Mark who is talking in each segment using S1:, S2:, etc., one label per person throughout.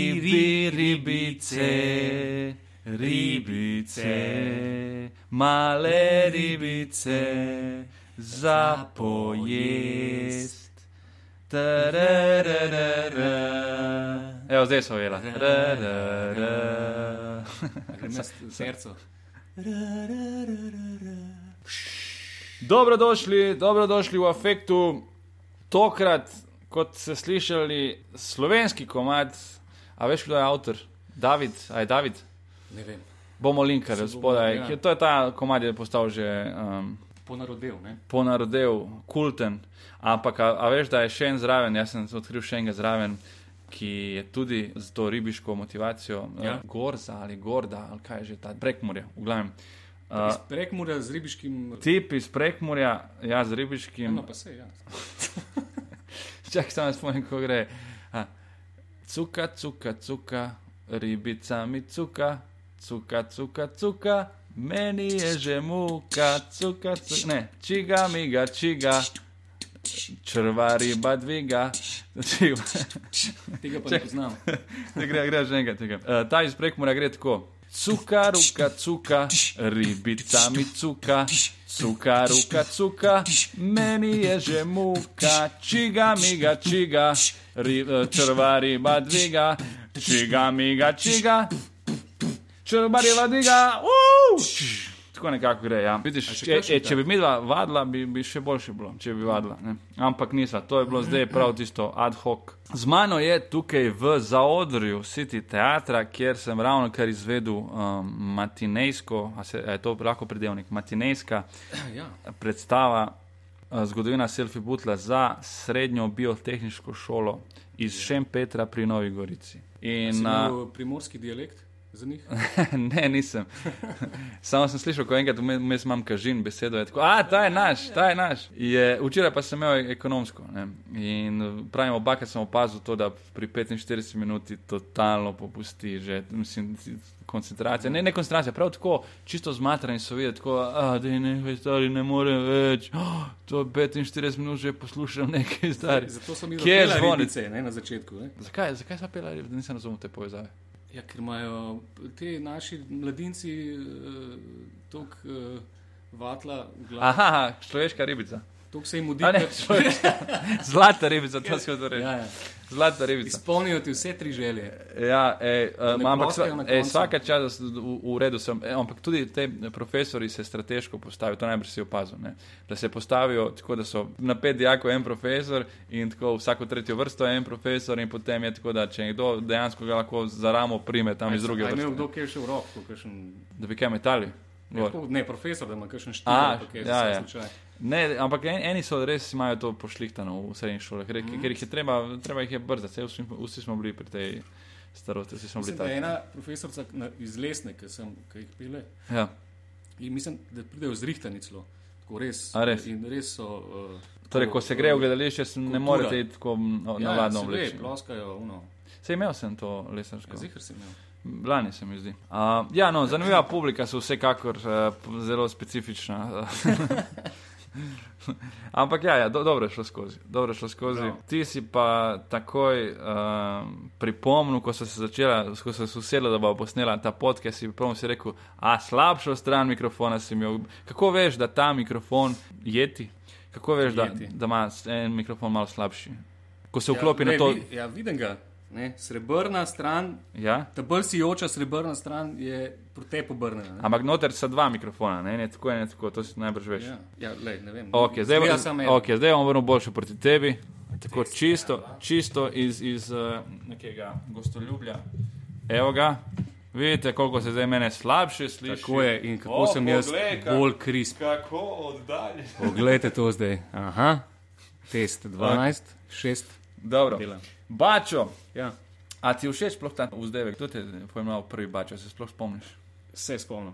S1: Ribi, ribice, ribice, male ribice, za pojest. Tarararara. Evo, zdaj so ujela.
S2: ja,
S1: Tararara.
S2: Gremo s srcem.
S3: Dobrodošli, dobrodošli v Afektu. Tokrat, kot ste slišali, slovenski komad, a veš, kdo je avtor? David, aj David,
S2: Ne vem,
S3: bomo linkali
S2: Se bomo,
S3: spodaj.
S2: ja.
S3: ki- To je ta komad, je postal že um,
S2: ponarodel, ne?
S3: ponarodel, kulten. Ampak, a, a veš, da je še en zraven, jaz sem odkril še enega zraven. Ki je tudi z to ribiško motivacijo, ja.
S2: Ja.
S3: Gorza ali Gorda, ali kaj je že ta prekmurje, v glavnem.
S2: Iz
S3: Uh,
S2: prekmura z ribiškim.
S3: tip iz prekmurja, ja, z ribiškim.
S2: No, pa se, ja.
S3: Čakaj, samo spomnim, ko gre. A, cuka, cuka, cuka, ribicami cuka, cuka, cuka, cuka, meni je že muka, cuka, cuka, ne, čiga, miga, čiga. Črva riba dviga, Čiva.
S2: Tega pa ne poznam.
S3: ne gre, gre že enkrat tega. Uh, ta iz prekmora gre tako. Cuka, ruka, cuka, ribicami cuka, cuka, ruka, cuka, meni je že muka, čiga, miga, čiga, ri, eh, črva riba dviga, čiga, miga, čiga, črva riba dviga, uh! Tako nekako gre, ja. Vidiš,
S2: še
S3: če,
S2: kakšen
S3: e, če bi midva vadla, bi, bi še boljše bilo, če bi vadla. Ne? Ampak nisva, to je bilo zdaj prav tisto ad hoc. Z mano je tukaj v zaodrju City Teatra, kjer sem ravno kar izvedel um, matinejsko, a se, a je to lahko predelnik, matinejska
S2: Ja,
S3: predstava eh, Zgodovina Selfie Butla za srednjo biotehniško šolo iz Šempetra pri Novi Gorici. In, Ja. uh, a,
S2: na primorski dialekt za njih.
S3: ne, nisem. Samo sem slišal, ko enkrat vme- vmes imam kažin besedo, je tako, a ta je naš, ta je naš. Je, včeraj pa sem imel ekonomsko ne? in pravim, oba, ker sem opazil to, da pri 45 minuti totalno popusti že, mislim, ti- koncentracija. Ne, ne koncentracija, prav tako čisto zmatrani so videti, tako, a, da je nekaj stari, ne morem več, oh, to je 45 minut že poslušam nekaj stari.
S2: Zato sem jih
S3: Kje je
S2: zapela
S3: zvonec?
S2: ribice, ne, na začetku. Ne?
S3: Zakaj, zakaj so pela, da nisem razumel te povezave?
S2: Ja, ker imajo ti naši mladinci uh, tok uh, vatla, glava,
S3: Aha, človeška ribica.
S2: tok se jim udi.
S3: A ne, človeška. Zlata ribica, to si hotel reči.
S2: Ja, ja.
S3: Zlata ribica.
S2: Izpolnijo ti vse tri želje.
S3: Ja, ej,
S2: ne
S3: um, ampak
S2: ploskajo
S3: sva,
S2: na
S3: ej,
S2: koncu.
S3: vsaka čas, da s- v, v redu sem, e, ampak tudi te profesori se strateško postavijo, to najbrž si opazil, ne? da se postavijo tako, da so na pet dijakov en profesor in tako vsako tretjo vrsto je en profesor in potem je tako, da če nekdo dejansko ga lahko za ramo prime tam iz druge
S2: A je
S3: vrste,
S2: imel
S3: ne?
S2: kdo kje še v rok, kot kakšen.
S3: da bi kaj metali.
S2: Ne,
S3: gor.
S2: tako, ne, profesor, da ima kakšen
S3: A,
S2: štiri, ki je
S3: ja,
S2: za
S3: ja.
S2: vsak slučaj.
S3: Ne, ampak en, eni so res imajo to pošlihtano v srednjih šolah, ker,
S2: Mhm.
S3: mm. ker jih je treba, treba jih je brzdati, saj vsi, vsi smo bili pri tej starosti, vsi smo No, bili
S2: Mislim, da je
S3: tam.
S2: ena profesorica na, iz Lesne, ki sem ki jih pile,
S3: Ja.
S2: in mislim, da pridejo zrihtani celo. Tako res.
S3: A, res?
S2: In res so. Uh,
S3: Torej, ko se gre v
S2: gledanje,
S3: gledališče, se ne
S2: kultura.
S3: morete iti tako no, ja, navadno
S2: gre,
S3: obleči.
S2: ploskajo, uno.
S3: Se imel sem to lesarsko.
S2: Zihar sem imel.
S3: Lani se mi zdi. Uh, ja, no, zanimiva publika so vsekakor uh, zelo specifična. Ampak ja, ja do, dobro je šlo skozi. Dobro je šlo skozi.
S2: Bravo.
S3: Ti si pa takoj uh, pripomnil, ko so se začela, ko so se usedla, da bo posnela ta podcast, si prvo si rekel, a slabšo stran mikrofona si imel. Kako veš, da ta mikrofon jeti? Kako veš, da,
S2: Yeti.
S3: da ima s- en mikrofon malo slabši? Ko se
S2: Ja,
S3: vklopi ja,
S2: ne,
S3: na to.
S2: Vi, ja, vidim ga. Ne? Srebrna stran,
S3: Ja?
S2: ta bolj sijoča srebrna stran je proti pobrnjena.
S3: Ampak noter so dva mikrofona, ne, ne tako, ne tako, to si najbrž veš.
S2: Ja, ja lej, ne vem.
S3: Okay, zdaj
S2: Zgleda
S3: bom,
S2: samo eno.
S3: okay, zdaj bom vrnil boljše proti tebi, tako čisto, čisto iz, iz uh, nekega gostoljubja. Evo ga, vidite, koliko se zdaj mene slabše sliši.
S2: Tako je in kako
S3: O,
S2: o, sem jaz
S3: poglej, kak-
S2: bolj krisp.
S3: Kako oddaljen.
S2: Poglejte to zdaj. Aha, test 12, 6.
S3: Dobro.
S2: Delam.
S3: Bačo,
S2: Ja,
S3: a ti je všeč sploh ta vzdevek? Kdo te je pojmenoval prvi bačo, se sploh spomniš?
S2: se spomnim.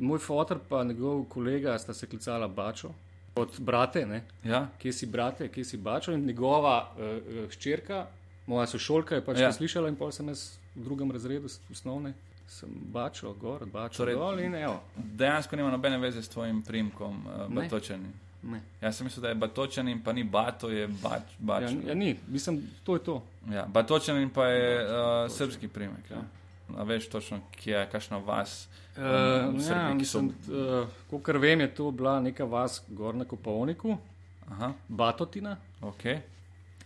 S2: Moj fotor in njegov kolega sta se klicala Bačo, od brate, ne?
S3: Ja?
S2: kje si brate, kje si Bačo. In njegova uh, hčerka, moja sošolka, je pač
S3: Ja.
S2: ja. slišala in pol sem jaz v drugem razredu s- osnovne. Sem bačo, gor, bačo,
S3: Torej-
S2: torej, dol in evo.
S3: Dejansko nima nobene veze s tvojim primkom, uh,
S2: Ne.
S3: batočeni.
S2: Ne.
S3: Jaz sem mislil, da je Batočanin, pa ni Bato, je Bač.
S2: Ja,
S3: bač.
S2: ja, ni, mislim, to je to.
S3: Ja, Batočanin pa je uh, srbski primek. Ja. A veš točno, kje je, kakšna vas.
S2: Uh,
S3: v
S2: ja,
S3: Srbiji, Eh, ki so-
S2: mislim, uh, kot vem, je to bila neka vas, gor na Kopovniku,
S3: Aha,
S2: Batotina.
S3: ok.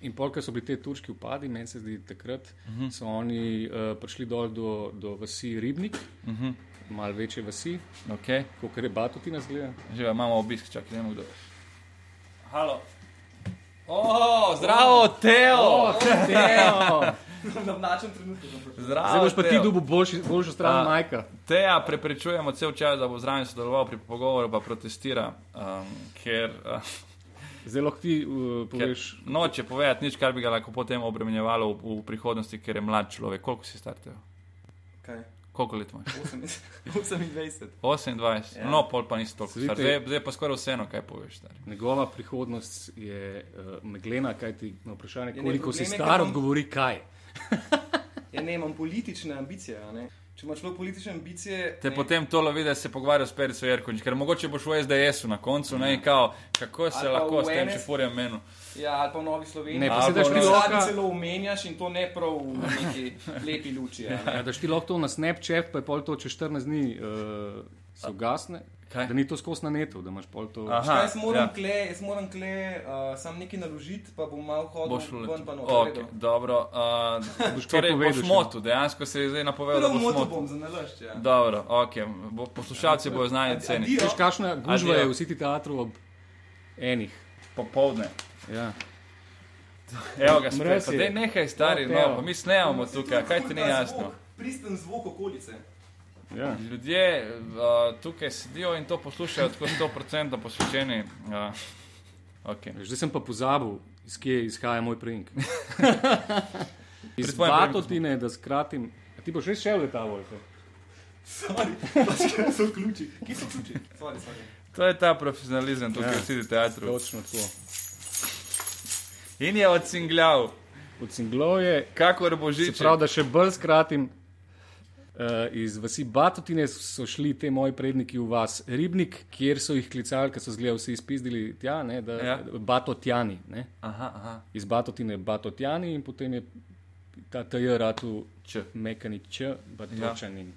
S2: In pol, ko so bili ti turški upadi, meni se zdi takrat, uh
S3: Mhm.
S2: -huh. so oni uh, prišli dol do, do vasi Ribnik, uh
S3: Mhm.
S2: -huh. malo večje vasi,
S3: okay.
S2: kot je Batotina zgleda.
S3: Že imamo obisk, čakaj, ne vem kdo. je. Halo. Oh, zdravo, Teo!
S2: Oh, Teo!
S4: Na mlačen trenutku.
S3: Zdravo,
S2: Zdaj boš pa ti
S3: Teo.
S2: dobil boljši- boljšo
S3: A.
S2: stran Majka.
S3: Teja preprečujemo cel čas, da bo zraven sodeloval pri pogovoru, pa protestira, um, ker uh,
S2: Zdaj lahko ti uh, poveš,
S3: noče povedati nič, kar bi ga lahko potem obremenjevalo v, v prihodnosti, ker je mlad človek. Koliko si star, Teja?
S4: Kaj?
S3: Koliko let imaš?
S4: 28.
S3: 28,
S4: Ja.
S3: ja. no, pol pa nisi toliko
S2: Saj
S3: star.
S2: te-
S3: Zdaj, zdaj pa skoraj vseeno, kaj poveš. Star.
S2: njegova prihodnost je uh, meglena, kaj ti na vprašanje,
S4: ne,
S2: koliko si
S4: problem je,
S2: star,
S4: ker-
S2: odgovori kaj.
S4: Ja, ne, imam politične ambicije. a Ne? Če imaš človek politične ambicije,
S3: Te
S4: ne,
S3: potem to lovi, da se pogovarja s Perico Jerkovič, ker mogoče boš v SDS-u na koncu, ne, in kao, kako se
S4: Ja. Ali pa
S3: lahko
S4: v
S3: s tem
S4: NS?
S3: čefurjem menu.
S4: ja, ali pa v Novi Sloveniji.
S2: Ne, pa
S4: ali
S3: se daš
S4: v
S2: priloka-
S4: Vladi celo omenjaš in to ne prav v neki lepi luči. a ne.
S2: Ja, daš ti lahko to na Snapchat, pa je pol to čez 14 dni uh, se ugasne.
S3: Kaj?
S2: Da ni to skos na netu, da imaš pol to.
S3: Aha,
S4: Kaj, Jaz moram
S3: ja.
S4: kle, jaz moram kle uh, sam nekaj naložiti, pa bom malo
S3: Boš
S4: hodil ven pa
S3: uletel.
S4: noč.
S3: Okay, dobro, uh,
S2: Boš kaj
S3: torej
S2: povedal
S3: boš
S2: še?
S3: motil, dejansko se je zdaj napovedal, da
S4: Prav
S3: boš
S4: moto
S3: motil.
S4: bom za naložč. Ja.
S3: Dobro, okay. bo, poslušalci bojo znali
S4: Adi-
S3: ceniti.
S4: adijo.
S2: Veš, kakšna gužva
S3: Adijo.
S2: je v City teatru ob enih.
S3: Popovdne.
S2: Ja.
S3: Evo ga, spet.
S2: Mraz
S3: Pa
S2: je.
S3: dej nehaj, stari,
S2: No, Teo.
S3: no, pa mi snemamo tukaj, kaj ti ni jasno.
S4: Pristen zvok okolice.
S2: Ja.
S3: Ljudje uh, tukaj sedijo in to poslušajo tako 100% posvečeni. Uh, okay.
S2: Veš, Zdaj sem pa pozabil, iz kje izhaja moj primek. iz
S3: Pri tvojem priimku
S2: Batotine, da skratim. A ti boš res šel letalo.
S4: Sorry, pa so ključi. Kje so ključi? Sorry, sorry.
S3: To je ta profesionalizem tukaj
S2: Ja.
S3: ja. v City teatru.
S2: Točno to.
S3: In je odcingljal,
S2: Od singlov je,
S3: kakor božič.
S2: čeprav da še bolj skratim, uh, iz vasi Batotine so šli ti moji predniki v vas Ribnik, kjer so jih klicali, ker so zgleda vsi izpizdili tja, ne, da, ja.
S3: Ja.
S2: Batotjani. Ne.
S3: Aha, aha,
S2: Iz Batotine Batotjani in potem je ta TJ ratu
S3: če.
S2: mekani Č, Batočanin. Ja.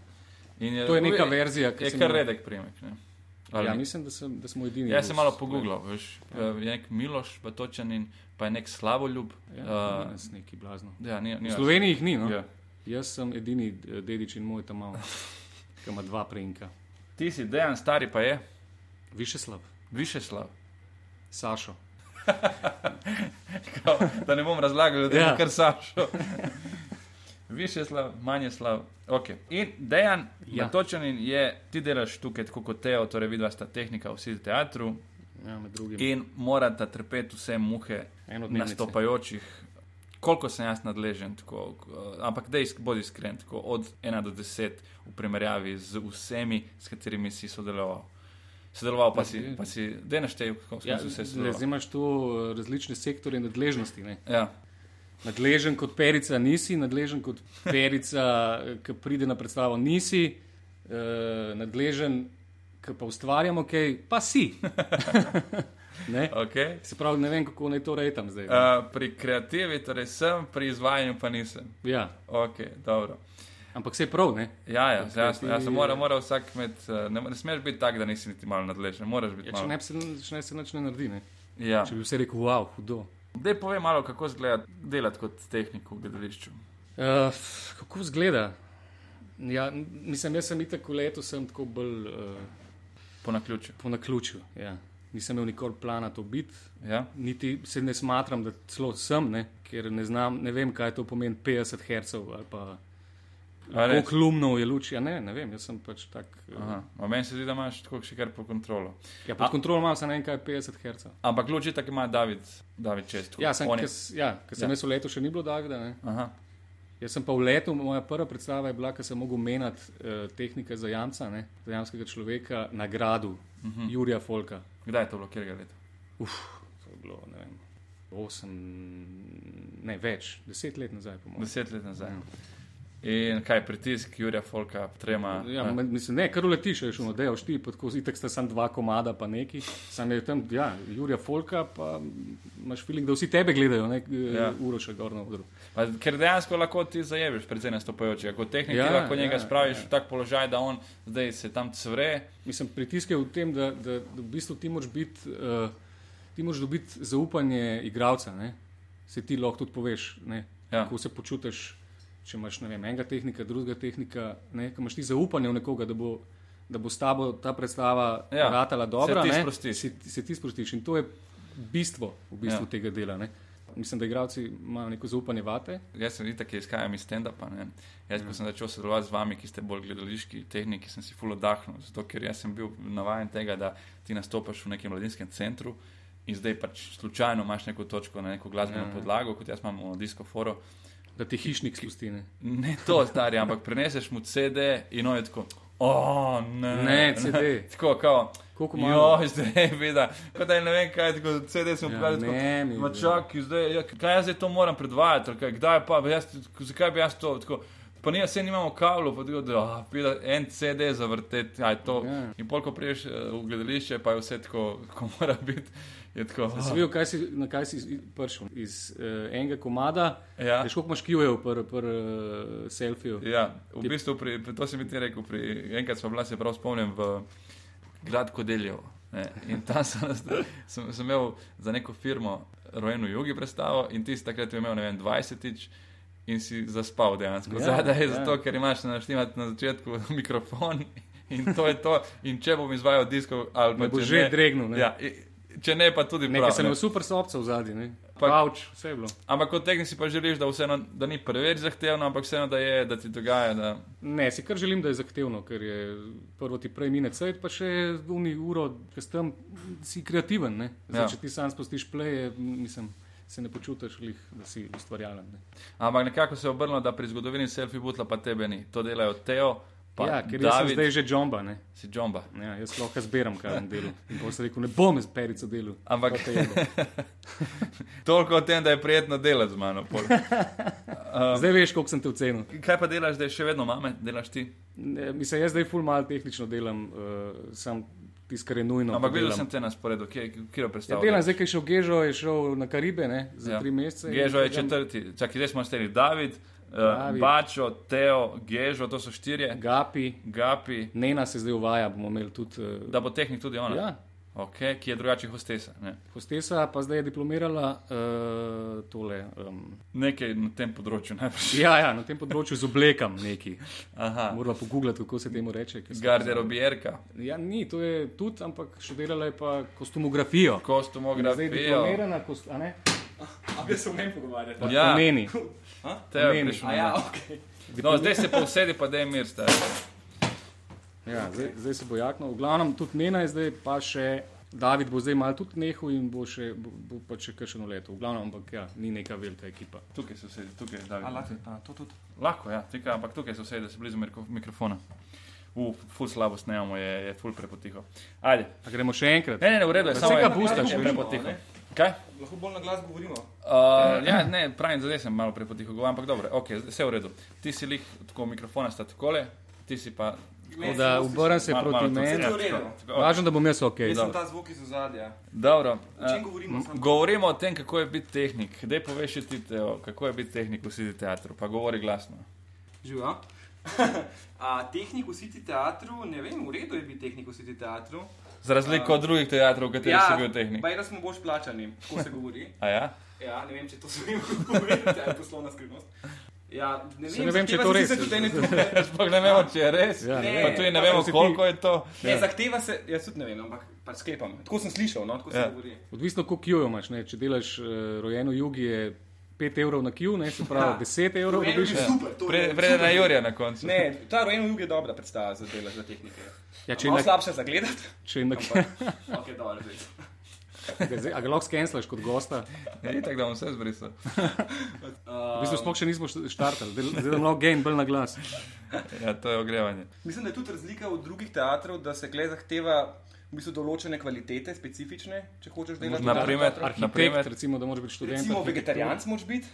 S3: In
S2: To je neka
S3: je-
S2: verzija, ki
S3: Je
S2: sem
S3: kar
S2: jo-
S3: redek primek. Ne?
S2: Ja,
S3: ni?
S2: mislim, da, sem, da Ja. smo edini.
S3: Jaz sem malo
S2: Rus.
S3: pogooglal, veš, Eh, je nek Miloš, pa točen in pa je nek slavoljub.
S2: Ja,
S3: Uh,
S2: uh, neki blazno.
S3: ja, ni, ni
S2: V Sloveniji jih ni. No?
S3: Ja.
S2: Jaz sem edini eh, dedič in moj tam malo, ki ima dva prejnika.
S3: Ti si dejan, stari pa je,
S2: Više slab,
S3: više slav.
S2: Sašo.
S3: Kao, da ne bom razlagal, da je
S2: Ja.
S3: ja. kar sašo. Više slav, manje slav. Okay. In dejan,
S2: Ja.
S3: ja. točen in je, ti delaš tukaj tako kot Teo, torej vidva sta tehnika, vsi v teatru
S2: Ja, med drugim.
S3: in morata trpeti vse muhe
S2: Enodnevnice.
S3: nastopajočih. Koliko sem jaz nadležen, tako, eh, ampak da bodi iskren, tako od 1 do 10 v primerjavi z vsemi, s katerimi si sodeloval. Sodeloval pa si, pa si da naštej, kako si
S2: Ja,
S3: vse
S2: le,
S3: sodeloval.
S2: zdaj imaš tu eh, različne sektorje nadležnosti. Ne?
S3: Ja,
S2: Nadležen kot perica nisi, nadležen kot perica, eh, ki pride na predstavo nisi, eh, nadležen, ki pa ustvarjamo kaj, pa si. Ne?
S3: okay.
S2: Se pravi, ne vem, kako naj to rejtam zdaj. ne.
S3: uh, pri kreativi, torej sem, pri izvajanju pa nisem.
S2: Ja,
S3: Okay, dobro.
S2: ampak se je prav, ne?
S3: ja, ja,
S2: Pri
S3: jasno, jasno,
S2: kreativi-
S3: mora, mora vsak med, eh, ne, ne smeš biti tak, da nisi niti malo nadležen. Moraš biti
S2: Ja, če
S3: malo.
S2: ne bi se, če ne se nič ne naredi, ne?
S3: Ja.
S2: če bi vse rekel, wow, hudo.
S3: Dej povej malo, kako izgleda delati kot tehnik v gledališču.
S2: Uh, kako izgleda? Ja, n- mislim, jaz sem itak v letu, sem tako bolj uh,
S3: Po naključju.
S2: po naključju. Ja. Nisem imel nikoli plana to biti,
S3: Ja?
S2: niti se ne smatram, da celo sem, ne? ker ne, znam, ne vem, kaj to pomeni 50 Hz ali pa
S3: A res?
S2: koliko lumnov je luč. Ja, ne, ne vem, jaz sem pač tak. Uh,
S3: Aha, a Meni se zdi, da imaš tako še kar pod kontrolo.
S2: ja, pod
S3: A-
S2: kontrolo imam, sem ne vem, kaj je 50 Hz.
S3: Ampak luči tako ima David, David Čest.
S2: Ja, sem,
S3: On je-
S2: kes, ja, ker sem
S3: Ja.
S2: ja. jaz v letu še ni bilo Davida. Ne?
S3: Aha,
S2: Jaz sem pa v letu, moja prva predstava je bila, ker sem mogel menjati eh, tehnike za jamca, ne, za jamskega človeka na gradu, uh -huh. Jurija Folka.
S3: kdaj je to bilo, kjer ga leta?
S2: To je bilo, ne vem, osem, ne več, deset let nazaj, po mojem. Ja.
S3: Deset let nazaj. In kaj pritisk, Jurija Folka, trema.
S2: Ja, me- mislim, ne, kar uletiš, je šlo, da je ošti, itek sta samo dva komada, pa neki. Sam je tam, ja, Jurija Folka, pa mm, imaš filik, da vsi tebe gledajo, ne, ja.
S3: Ja.
S2: uroša gor na odru.
S3: Pa, ker dejansko lahko ti zajebiš predvsej nastopajočega. Kot tehnik
S2: Ja,
S3: ja, lahko njega
S2: ja,
S3: ja, spraviš ja. v tak položaj, da on zdaj se tam cvre.
S2: Mislim, pritisk je v tem, da, da, da v bistvu ti moraš biti, uh, ti moraš dobiti zaupanje igralca, ne. Se ti lahko tudi poveš, ne,
S3: Ja.
S2: kako se počutiš, če imaš, ne vem, enega tehnika, drugega tehnika, ne, ko imaš ti zaupanje v nekoga, da bo, da bo s tabo ta predstava ja.
S3: Ja.
S2: ratala dobro.
S3: Se ti
S2: ne.
S3: sprostiš.
S2: Se, se ti sprostiš in to je bistvo, v bistvu ja.
S3: Ja.
S2: tega dela, ne. Mislim, da igravci imajo neko zaupanje vate.
S3: Jaz sem itak ki izhajam iz stand-upa. ne. Jaz,
S2: Ja.
S3: ko sem začel sodelovati z vami, ki ste bolj gledališki tehniki, sem si full oddahnil. Zato, ker jaz sem bil navaden tega, da ti nastopaš v nekem mladinskem centru in zdaj pač slučajno imaš neko točko na neko glasbeno
S2: Ja.
S3: podlago, kot jaz imam v disko foro.
S2: Da ti hišnik spusti. Ne,
S3: Ne to, stari, ampak preneseš mu CD in on je tako. O, ne,
S2: Ne, CD.
S3: Tako, kao,
S2: Koliko malo?
S3: jo, zdaj veda, kot da je ne vem kaj, tako CD smo
S2: Ja,
S3: ja,
S2: ne, mi-
S3: tako, ma čakaj, zdaj, ja, kaj jaz zdaj to moram predvajati, ali kaj, kdaj pa, bi jaz, zakaj bi jaz to, tako, pa ni, vse nimamo kablo, pa tako, da, ah, pida, en CD zavrteti, aj to,
S2: Ja.
S3: in pol, ko priješ eh, v gledališče, pa je vse tako, ko mora biti, je tako,
S2: Sem videl, kaj si, na kaj si iz- prišel. Iz uh, enega komada,
S3: ja.
S2: Veš, koliko imaš kijev, pr, pr uh, selfijo.
S3: Ja, v
S2: Ti-
S3: bistvu, pri, pri, to sem ti rekel, pri, enkrat smo bili, se prav spomnim, v Gradko Deljevo. Ne, in tam sem, sem, sem imel za neko firmo rojeno jugi predstavo in ti si takrat imel, ne vem, 20 in si zaspal dejansko.
S2: Ja,
S3: Ja, Zadaj je
S2: ja.
S3: ja. zato, ker imaš naštimati na začetku mikrofon in to je to. In če bom izvajal disko ali
S2: Me
S3: pa
S2: bo
S3: če
S2: že
S3: ne,
S2: dregnil, ne?
S3: Ja, i- če ne, pa tudi
S2: Nekaj
S3: prav,
S2: sem
S3: ne.
S2: imel super sopca v zadnji, ne?
S3: Pa-
S2: Pavč, vse je bilo.
S3: Ampak kot tehnik si pa želiš, da, vseeno, da ni preveč zahtevno, ampak vseeno, da je, da ti dogaja. Da,
S2: Ne, si kar želim, da je zahtevno, ker je prvo ti prej mine cajt, pa še uni uro, ker si tam si kreativen, ne? Zdaj, ja.
S3: Ja.
S2: če ti sam spustiš pleje, mislim, se ne počutiš, lih, da si ustvarjalen. Ne?
S3: Ampak nekako se je obrnilo, da pri zgodovini selfie butla pa tebe ni. To delajo Teo, pa
S2: ja, ker jaz sem
S3: David,
S2: zdaj že džomba, ne?
S3: si Džomba.
S2: Ja, jaz lahko zbiram, kaj bom delal. In potem sem rekel, ne bom z perico delal.
S3: Ampak-
S2: Pa te jebo.
S3: Toliko o tem, da je prijetno delati z mano. pol.
S2: zdaj veš, koliko sem te ocenil.
S3: Kaj pa delaš, da je še vedno mame, delaš ti?
S2: Ne, mislim, jaz zdaj ful malo tehnično delam, uh, sam tisto, kar je nujno.
S3: Ampak
S2: pa
S3: videl
S2: No, delam.
S3: sem te na sporedu, kje je
S2: Ja,
S3: predstavljal.
S2: delam zdaj, ki je šel Gežo, je šel na Karibe ne, za ja. tri mesece. in
S3: Gežo je
S2: delam-
S3: četrti, čakaj, zdaj smo šteli David,
S2: David.
S3: David. Bačo, Teo, Gežo, to so štirje,
S2: Gapi,
S3: Gapi,
S2: Nena se zdaj uvaja, bomo imeli tudi. Uh,
S3: da bo tehnik tudi ona.
S2: ja,
S3: Okay, ki je drugače hostesa. Ne?
S2: hostesa pa zdaj je diplomirala uh, tole. Um,
S3: Nekaj na tem področju najprej.
S2: ja, ja, na tem področju z oblekam neki.
S3: Aha,
S2: Morala pogooglati, kako se temu reče. ker sem-
S3: garderobierka,
S2: Ja, ni, to je tudi, ampak še delala je pa kostumografijo. Zdaj je
S3: kostumografijo.
S2: diplomirana, kost, a ne?
S4: A vi se o meni pogovarjate?
S2: Ja.
S3: Ja.
S2: Neni.
S3: Teo je
S2: meni.
S3: prišel
S4: A
S3: na
S4: ja, ok.
S3: No, zdaj se pa usedi, pa da je mir, stari.
S2: Ja, zdaj, zdaj se bo jakno. V glavnem tudi njena je zdaj, pa še David bo zdaj malo tudi nehal in bo še, bo, bo pa še kakšno leto. V glavnem, ampak ja, ni neka velika ekipa.
S3: Tukaj se usedi, tukaj da
S4: A
S3: vidiš.
S4: lahko, a to tudi.
S3: Lahko, ja, tukaj, ampak tukaj se usedi, da si blizu mirko- mikrofona. Uf, ful slabo snemamo, je, je ful prepotiho. Ajde.
S2: A gremo še enkrat.
S3: Ne, ne, ne, v redu je,
S2: Pa
S3: samo
S2: saj ga
S3: je-
S2: pustaš,
S3: je
S2: veš.
S3: prepotiho. Kaj?
S4: Lahko bolj na glas govorimo.
S3: Uh, ja, ne, pravim, zdaj sem malo prepotiho govoril, ampak dobro, okay, zdaj vse v redu. Ti si lih, tako mikrofona sta takole, ti si pa...
S2: Tako da obrn se
S3: Malo-
S2: proti
S3: malo to-
S2: meni.
S3: ja,
S4: To je v redu.
S3: tako, tako,
S2: Važno, da bom jaz ok.
S4: Jaz sem
S2: dobro.
S4: ta zvok iz ozadja.
S3: Dobro.
S4: O čem
S3: eh,
S4: govorimo? Sam-
S3: Govorimo o tem, kako je biti tehnik. Dej poveš še ti, Teo, kako je biti tehnik v Sidi teatru, pa govori glasno.
S4: Živijo. A, tehnik v City teatru, ne vem, v redu je biti tehnik v City teatru.
S3: Za razliko od drugih teatrov, v katerih ja, si bil tehnik.
S4: Baj, da smo boš plačani, tako se govori.
S3: A ja?
S4: Ja, ne vem, če to smem govoriti, ali poslovna skrivnost. Ja, ne
S2: Se
S4: vem,
S2: ne vem, če je
S4: zahteva
S2: to
S4: se
S2: res.
S4: sicer Tudi ene druge.
S3: Sploh ne vemo, če je res.
S2: Ja,
S3: Ja,
S4: ne.
S3: ne, pa tudi ne vemo,
S2: si ti-
S3: koliko je to.
S2: Ja.
S4: Ne, zahteva se, jaz tudi ne vem, ampak pač sklepam. Tako sem slišal, no, tako se
S3: Ja.
S4: govori.
S2: Odvisno, koliko jojo imaš. Ne? Če delaš uh, rojeno jugi, je 5 evrov na kiju, ne? se pravi
S4: Ja.
S2: 10 evrov
S4: Rojeno
S2: dobiš.
S4: je super, to je
S3: Pre- Vrede na Jurija na koncu.
S4: Ne, ta rojeno jug je dobra predstava za delo, za tehnike.
S2: Ja, če
S4: če
S2: je
S4: je
S2: na,
S4: slabša za gledati,
S2: če je na
S4: ampak ok, dobro, zdaj.
S2: ga zdaj- a ga lahko skenslaš kot gosta.
S3: Je tako, da bom vse zbrisal.
S2: V bistvu sploh še nismo št- štartali, zdaj zdaj da lahko game bolj na glas.
S3: Ja, to je ogrevanje.
S4: Mislim, da je tudi razlika od drugih teatrov, da se gled zahteva v bistvu določene kvalitete, specifične, če hočeš delati.
S3: Na
S4: v
S3: primer-
S4: teatru.
S3: Na primer-
S2: Arhitekt, recimo, da moraš biti študent.
S4: recimo
S2: arhitekture.
S4: vegetarijanc moraš biti,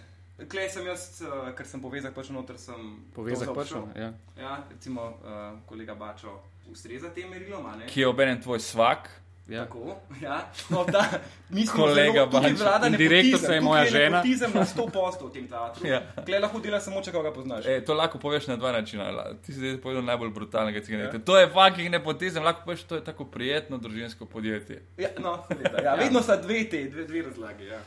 S4: Klej sem jaz, eh, ker sem povezak pač noter, sem
S2: Povezak
S4: to
S2: pršo.
S4: zaobšel.
S2: Ja.
S4: Ja, recimo uh, kolega Bačo ustreza tem merilom, a ne?
S3: ki je obenem tvoj svak.
S2: Ja.
S4: Tako, ja. no, ta, mi smo
S3: Kolega
S4: zelo- tukaj
S3: Bačo.
S4: vlada
S2: In
S4: nepotizem,
S2: direktorica je
S4: tukaj
S2: moja žena.
S4: Nepotizem na 100% v tem teatru.
S3: Ja.
S4: Klej lahko dela samo, če ga poznaš.
S3: E, to lahko poveš na dva načina. La- Ti si zdaj povedal najbolj brutalnega, ki ga nekaj. To je fucking nepotizem, lahko poveš, to je tako prijetno družinsko podjetje.
S4: Ja, no, seveda, ja, vedno sta dve te, dve, dve razlage. Ja.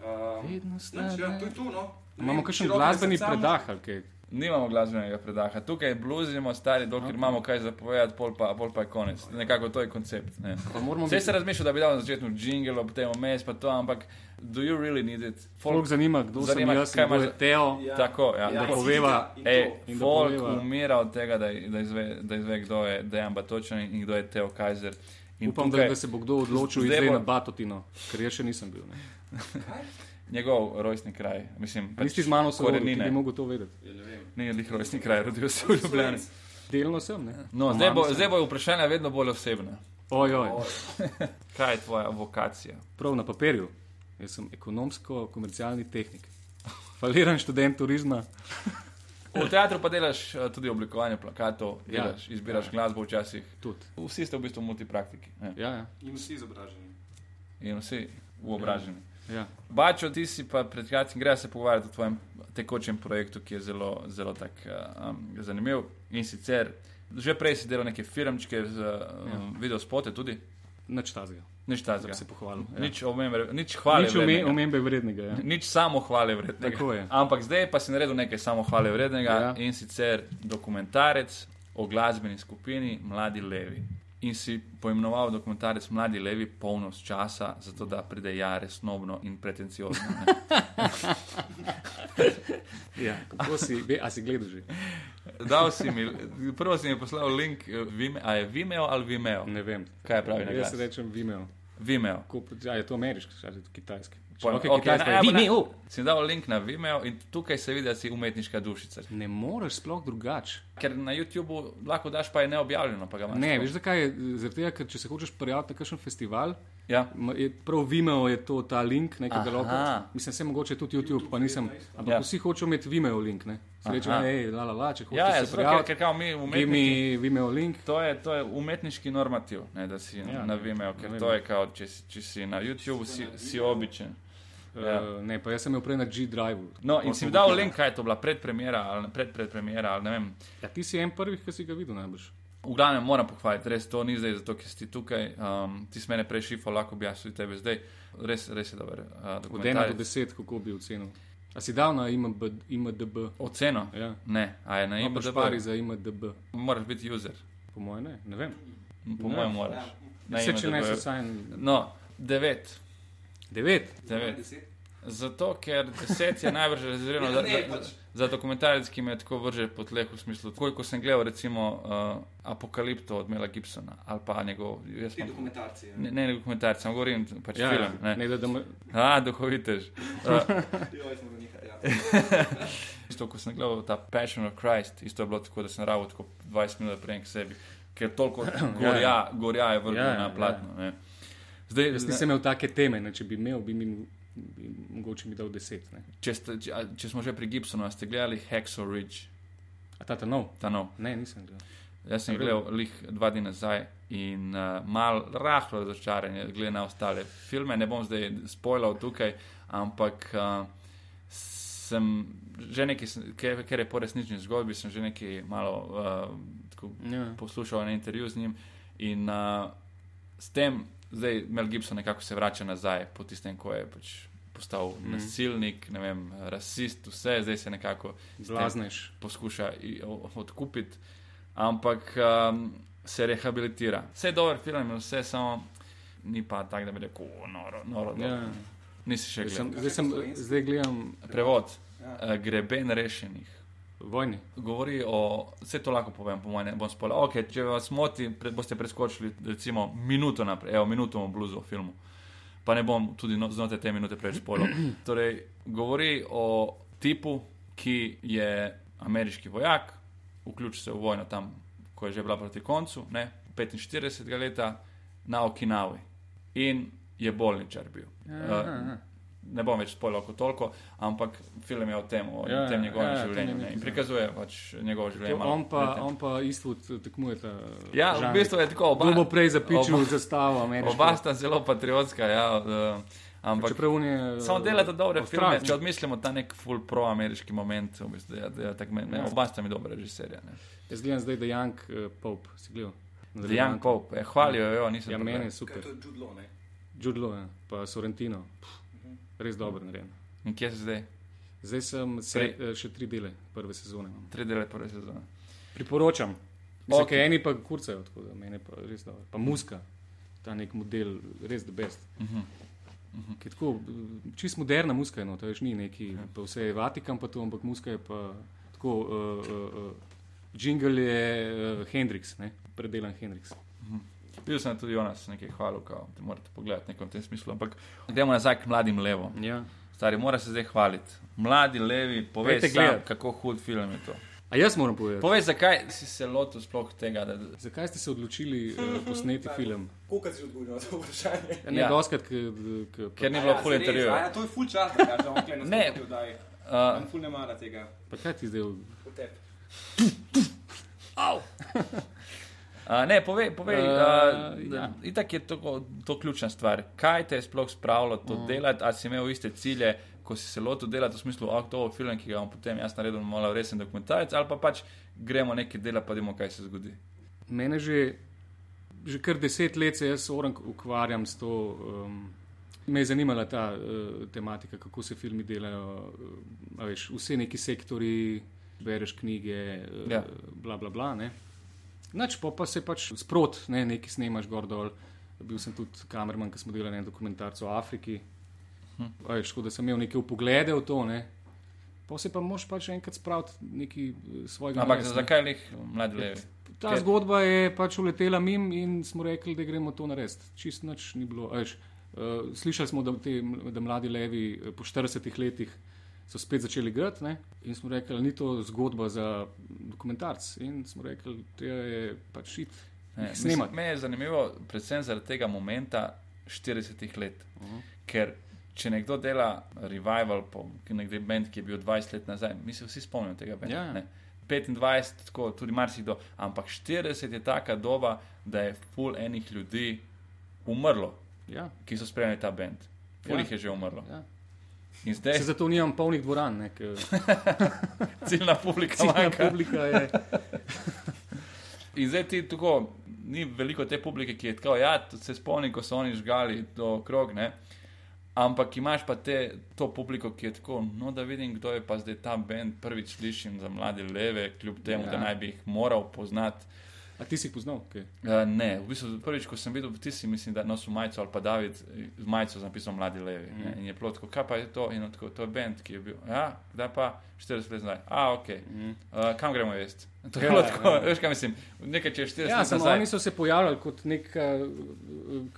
S4: Um,
S2: Vedno sta
S4: nič, ja,
S2: dve.
S4: to je to, no. Ne
S2: Imamo
S4: vem,
S2: kakšen
S4: široko
S2: glasbeni
S4: sem sam-
S2: predah ali kaj.
S3: Nimamo glasbenega predaha, tukaj bluzimo, stari, dokler okay. imamo kaj zapovedati, pol pa, pol pa je konec. Nekako to je koncept. Ne.
S2: Pa moramo
S3: Vse
S2: biti
S3: se razmišljal, da bi dal na začetku jingle, ob tem vmes pa to, ampak do you really need it?
S2: folk zanima, kdo
S3: Zanima,
S2: sem jaz,
S3: kaj
S2: kaj imaš
S3: imaš
S2: za
S3: za-
S2: teo.
S4: Ja.
S3: Tako, ja, e.
S2: da
S4: in
S2: poveva,
S4: slikaj in
S3: Ej,
S4: to.
S2: In da
S3: folk
S2: poveva.
S3: umira od tega, da, da, izve, da izve, kdo je Dejan Batočen in kdo je Teo Kajzer. In
S2: Upam, da,
S3: tukaj
S2: da se bo kdo odločil
S3: Zdaj
S2: zdaj
S3: bo-
S2: na Batotino, ker jaz še nisem bil. ne.
S3: njegov rojstni kraj, mislim,
S2: A Nisi z mano sodeloval, ti bi
S3: korenine.
S2: mogel to vedeti.
S4: Ja, ne vem.
S3: Ni njih rojstni kraj, rodil se v Ljubljani.
S2: Delno sem, ne?
S3: No,
S2: Po
S3: zdaj bo,
S2: mami sem.
S3: zdaj bo vprašanje vedno bolj osebno.
S2: Ojoj,
S3: Kaj je tvoja vokacija?
S2: prav na papirju. Jaz sem ekonomsko-komercialni tehnik. Faliran študent turizma.
S3: V teatru pa delaš eh, tudi oblikovanje plakatov,
S2: Ja.
S3: delaš, izbiraš
S2: Ja.
S3: glasbo včasih.
S2: Tudi.
S3: Vsi ste v bistvu multipraktiki ne.
S2: Ja, ja.
S4: In vsi izobraženi.
S3: in vsi uobraženi.
S2: ja.
S3: Bačo, ti si pa pred kratkim greš se pogovarjati o tvojem tekočem projektu, ki je zelo, zelo tak, uh, um, zanimiv. In sicer že prej si delal neke filmčke, z, um, ja. video spote tudi,
S2: Nič tazga,
S3: nič
S2: da
S3: tazga.
S2: bi se pohvalil. Ja.
S3: Nič, omembe, nič hvale
S2: Nič ome-
S3: vrednega.
S2: omembe vrednega. Ja.
S3: Nič samo hvale vrednega.
S2: Tako je.
S3: Ampak zdaj pa si naredil nekaj samo hvale vrednega ja.
S2: Ja.
S3: in sicer dokumentarec o glasbeni skupini Mladi Levi. In si poimenoval dokumentarec Mladi Levi polnost časa, zato da pride ja resnobno in pretenciozno. ne.
S2: Ja. Kako si, ve, a si gledal že?
S3: Dal si mi, prvo si mi poslal link, eh, Vime, a je Vimeo ali Vimeo?
S2: Ne vem.
S3: Kaj pravi na
S2: Jaz
S3: glas?
S2: rečem Vimeo.
S3: Vimeo.
S2: Ko, ja, je to ameriški, ali kitajski?
S3: Pojma,
S2: Človek je
S3: okej,
S2: kitajski,
S3: na- ja, bo na-
S2: Vimeo.
S3: Si dal link na Vimeo in tukaj se vidi, da si umetniška dušica.
S2: Ne moreš sploh drugače.
S3: Ker na YouTubu lahko daš, pa je neobjavljeno. Pa ga imaš
S2: Ne,
S3: tako.
S2: veš zakaj? je? Zaradi tega, ker če se hočeš prijaviti na kakšen festival,
S3: Ja.
S2: ma- je prav Vimeo je to ta link, ne, ki ga
S3: Aha.
S2: lahko. Mislim, se mogoče tudi YouTube, pa nisem. Ampak
S3: Ja.
S2: ja. vsi hočejo imeti Vimeo link, ne. Se Reče,
S3: Aha.
S2: hej, la la la, če hočeš
S3: Ja, ja
S2: se
S3: zato, ker,
S2: prijaviti,
S3: ker kao mi
S2: daj
S3: umetniki.
S2: mi Vimeo link.
S3: To je, to je umetniški normativ, ne, da si ja,
S2: Ja,
S3: na
S2: ne,
S3: Vimeo,
S2: ne
S3: ker
S2: vem.
S3: to je kao, če, si- če si na YouTubu, si, si običajen. Ja.
S2: Ja. Uh, ne, pa jaz sem imel prej na G-Drive.
S3: No, in si mi dal link, kaj je to bila predpremjera ali predpremjera ali ne vem.
S2: Ja, ti si en prvih, ki si ga videl najbrž.
S3: V glavnem moram pohvaliti, res to ni zdaj, zato ker si ti tukaj, um, ti si mene prej šifal, lahko bi jaz tudi tebe zdaj. Res, res je dober. Uh,
S2: Od 1 do 10, kako bi ocenil. A si dal na IMB, IMDB?
S3: Oceno?
S2: Ja.
S3: Ne, a je na
S2: Ne,
S3: imenu
S2: imaš pari za IMDB.
S3: Moraš biti user,
S2: Po mojem, ne, ne vem.
S3: po mojem moraš.
S4: Ja,
S3: Na
S2: Se če ne,
S3: IMDb.
S2: so vsaj
S3: No, devet.
S2: 9.
S3: devet. Zato, ker deset je najbrž rezervirano
S4: Ja,
S3: za,
S4: ne,
S3: za,
S4: pač.
S3: za dokumentarec, ki me tako vrže po tleh v smislu. Koliko sem gledal, recimo, uh, Apokalipto od Mela Gibsona ali pa njegov. jaz
S4: Ti
S3: imam-
S4: dokumentarci. Ja.
S3: Ne, ne dokumentarec, samo govorim pač ja, film. Ne.
S2: ne da, da me,
S3: A, duhovitež. Uh,
S4: Joj, smo do njih, ja.
S3: isto, ko sem gledal ta Passion of Christ, isto je bilo tako, da sem ravo tako 20 minut prej k sebi, ker toliko gorja, ja. gorja je vrglo
S2: Ja,
S3: ja,
S2: ja,
S3: na platno. Ja. Zdaj,
S2: jaz nisem imel take teme, ne, če bi imel, bi mi bi, mogoče mi dal 10. Ne.
S3: če, ste, če, a- če smo že pri Gibsonu, a ste gledali Hexo Ridge,
S2: A ta ta nov?
S3: ta nov.
S2: Ne, nisem gledal.
S3: Jaz sem gledal lih dva dni nazaj in uh, mal rahlo razočaran, je glede na ostale filme. Ne bom zdaj spoilal tukaj, ampak uh, sem že nekaj, sem- ker ker je po resnični zgodbi, sem že nekaj malo uh, tako
S2: Ja.
S3: poslušal en intervju z njim in uh, s tem zdaj Mel Gibson nekako se vrača nazaj po tistem, ko je pač postal mm. nasilnik, ne vem, rasist, vse, zdaj se nekako s tem
S2: Blazneš.
S3: poskuša i- o- odkupiti, ampak um, se rehabilitira. Vse je dober film, in vse samo ni pa tako, da bi rekel, "O, noro, noro.
S2: Ja.
S3: Ja. Nisi še
S2: Zdaj, sem,
S3: gledal.
S2: zdaj, sem, zdaj gledam
S3: Prevod,
S4: Ja.
S3: ja. greben rešenih.
S2: vojni.
S3: Govori o, vse to lahko povem, po mojem, ne bom spolil. Okay, če vas moti, pre, boste preskočili recimo minuto naprej, evo, minuto bom bluzil v filmu. Pa ne bom tudi no, znotraj te minute preveč spolil. Torej, govori o tipu, ki je ameriški vojak, vključi se v vojno tam, ko je že bila proti koncu, ne, 45 leta na Okinavi in je bolničar bil. Ja,
S2: Aha, aha.
S3: Uh, ne bom več spoilal kot toliko, ampak film je o tem, o
S2: Ja,
S3: ja, tem njegovem
S2: ja,
S3: ja,
S2: to
S3: življenju.
S2: ne bi
S3: Ne, in
S2: priznal.
S3: prikazuje pač njegovo življenje. malo
S2: On pa,
S3: na tem.
S2: on pa Eastwood eh, tekmujeta.
S3: ja, v bistvu je tako, oba,
S2: Kdo bo prej zapičil
S3: oba-
S2: zastavo ameriško?
S3: oba sta zelo patriotska, ja, eh, ampak
S2: Čeprav on je...
S3: Samo delate dobre filme,
S2: Avstralci.
S3: če odmislimo ta nek full pro-ameriški moment, v bistvu, da, da, tak, me, me,
S2: Ja.
S3: oba sta mi dobra režiserja. ne.
S2: Jaz gledam zdaj The Young eh, Pope, si gledal.
S3: The Young Pope, eh, hvalijo jo, nisem
S2: Ja,
S3: to
S2: meni je
S3: gledal.
S4: Kaj
S2: super.
S4: je to čudlo, ne?
S2: Judlo, ja. pa Sorrentino. Pff, Res dobro narejen.
S3: In kje si zdaj?
S2: Zdaj sem se, eh, še tri dele prve sezone. no. Imam.
S3: Tri dele prve sezone.
S2: Priporočam. Mislim,
S3: Ok.
S2: okay. Eni pa kurcajo, tako da meni je pa res dobro. Pa muska, ta nek model, res the best. Uh -huh. Uh -huh. Tako, eh, čist moderna muska je, no, to veš, ni neki, pa vse je Vatikan, pa to, ampak muska je pa tako, uh, uh, uh, jingle je uh, Hendrix, ne? predelan Hendrix.
S3: Videl sem tudi Jonas nekaj hvalil, kao, da morate pogledati nekom v tem smislu. Ampak gremo nazaj k mladim levom.
S2: Ja.
S3: Stari, mora se zdaj hvaliti. Mladi levi, povej
S2: Pojdite
S3: sam,
S2: gledat.
S3: kako hud film je to.
S2: A jaz moram povedati,
S3: Povej, zakaj si se lotil sploh tega, da
S2: zakaj ste se odločili uh, posneti film?
S4: Koliko si odgovoril na to vprašanje?
S2: Ja, ne,
S3: Ja.
S2: ja. doskrat, k, k, k,
S3: Ker ni bilo ful intervjujev.
S4: Ja, to je full čas, da ga on klene.
S3: Ne.
S4: Ne, daj.
S3: uh,
S4: Tam ful ne mara tega.
S2: pa kaj ti zdaj?
S4: Potep.
S3: Uh, ne, povej, povej uh,
S2: Eh,
S3: uh, ja.
S2: ja.
S3: itak je to, to ključna stvar. Kaj te je sploh spravilo to mm. delati, ali si imel iste cilje, ko si se lotil delati v smislu, ah, to je film, ki ga bom potem jaz naredil, malo resen dokumentarec, ali pa pač gremo nekaj dela, pa vidimo, kaj se zgodi.
S2: Mene že, že kar deset let se jaz orang ukvarjam s to. Um, Me je zanimala ta uh, tematika, kako se filmi delajo. Uh, veš, vse neki sektori, bereš knjige, uh,
S3: Ja.
S2: ja. bla, bla, bla. Ne? Nač pa, pa se pač sprot, ne, nekaj snemaš gor dol. Bil sem tudi kamerman, ki smo delali en dokumentarc o Afriki. Hm. Veš, tako da sem imel neke upoglede v to. Ne? Pa se pa moš pač enkrat spraviti neki eh, svojega.
S3: Ampak
S2: naveza, ne.
S3: zakaj lih mladi levi?
S2: Ta
S3: Ker-
S2: Ker... zgodba je pač uletela mim in smo rekli, da gremo to narediti. Čist nič ni bilo. a Veš, uh, slišali smo, da, te, da mladi levi eh, po 40 letih so spet začeli igrati ne? in smo rekli, da ni to zgodba za dokumentarc. In smo rekli, da je pač šit.
S3: Ne,
S2: Ne,
S3: mislim,
S2: snemati.
S3: Meni je zanimivo, predvsem zaradi tega momenta 40 let. Uh
S2: Mhm.
S3: -huh. Ker če nekdo dela revival, po, nekdo bend, ki je bil 20 let nazaj, mi se vsi spomnimo tega benda.
S2: Ja, ja.
S3: ne. 25, tako tudi marsikdo, ampak 40 je taka doba, da je full enih ljudi umrlo,
S2: Ja,
S3: ki so spremljali ta bend. Full
S2: Ja.
S3: jih je že umrlo.
S2: ja.
S3: In zdaj
S2: Se
S3: je
S2: zato nimam polnih dvoran, ne, ker
S3: ciljna publika.
S2: ciljna
S3: manjka.
S2: publika je.
S3: In zdaj ti tako, ni veliko te publike, ki je tako, ja, tudi se spomnim, ko so oni žgali do krog, ne. Ampak imaš pa te, to publiko, ki je tako, no da vidim, kdo je pa zdaj ta bend, prvič slišim za mlade leve, kljub temu, ja.
S2: Ja.
S3: da naj bi jih moral poznati.
S2: A ti si jih poznal? Okay.
S3: Uh, ne, v bistvu prvič, ko sem videl, ti si mislim, da nosil majico ali pa David eh, z majico z napisom Mladi Levi. Mm.
S2: Mhm.
S3: In je bilo tako, kaj pa je to? In on tako, to je bend, ki je bil. Ja, kdaj pa 40 let nazaj. A, ok. Mm. Uh, kam gremo jesti? To je
S2: Ja,
S3: bilo tako,
S2: ja.
S3: veš kaj mislim, nekaj če je 40
S2: Ja,
S3: let
S2: samo
S3: nazaj.
S2: oni so se pojavljali kot nek, eh,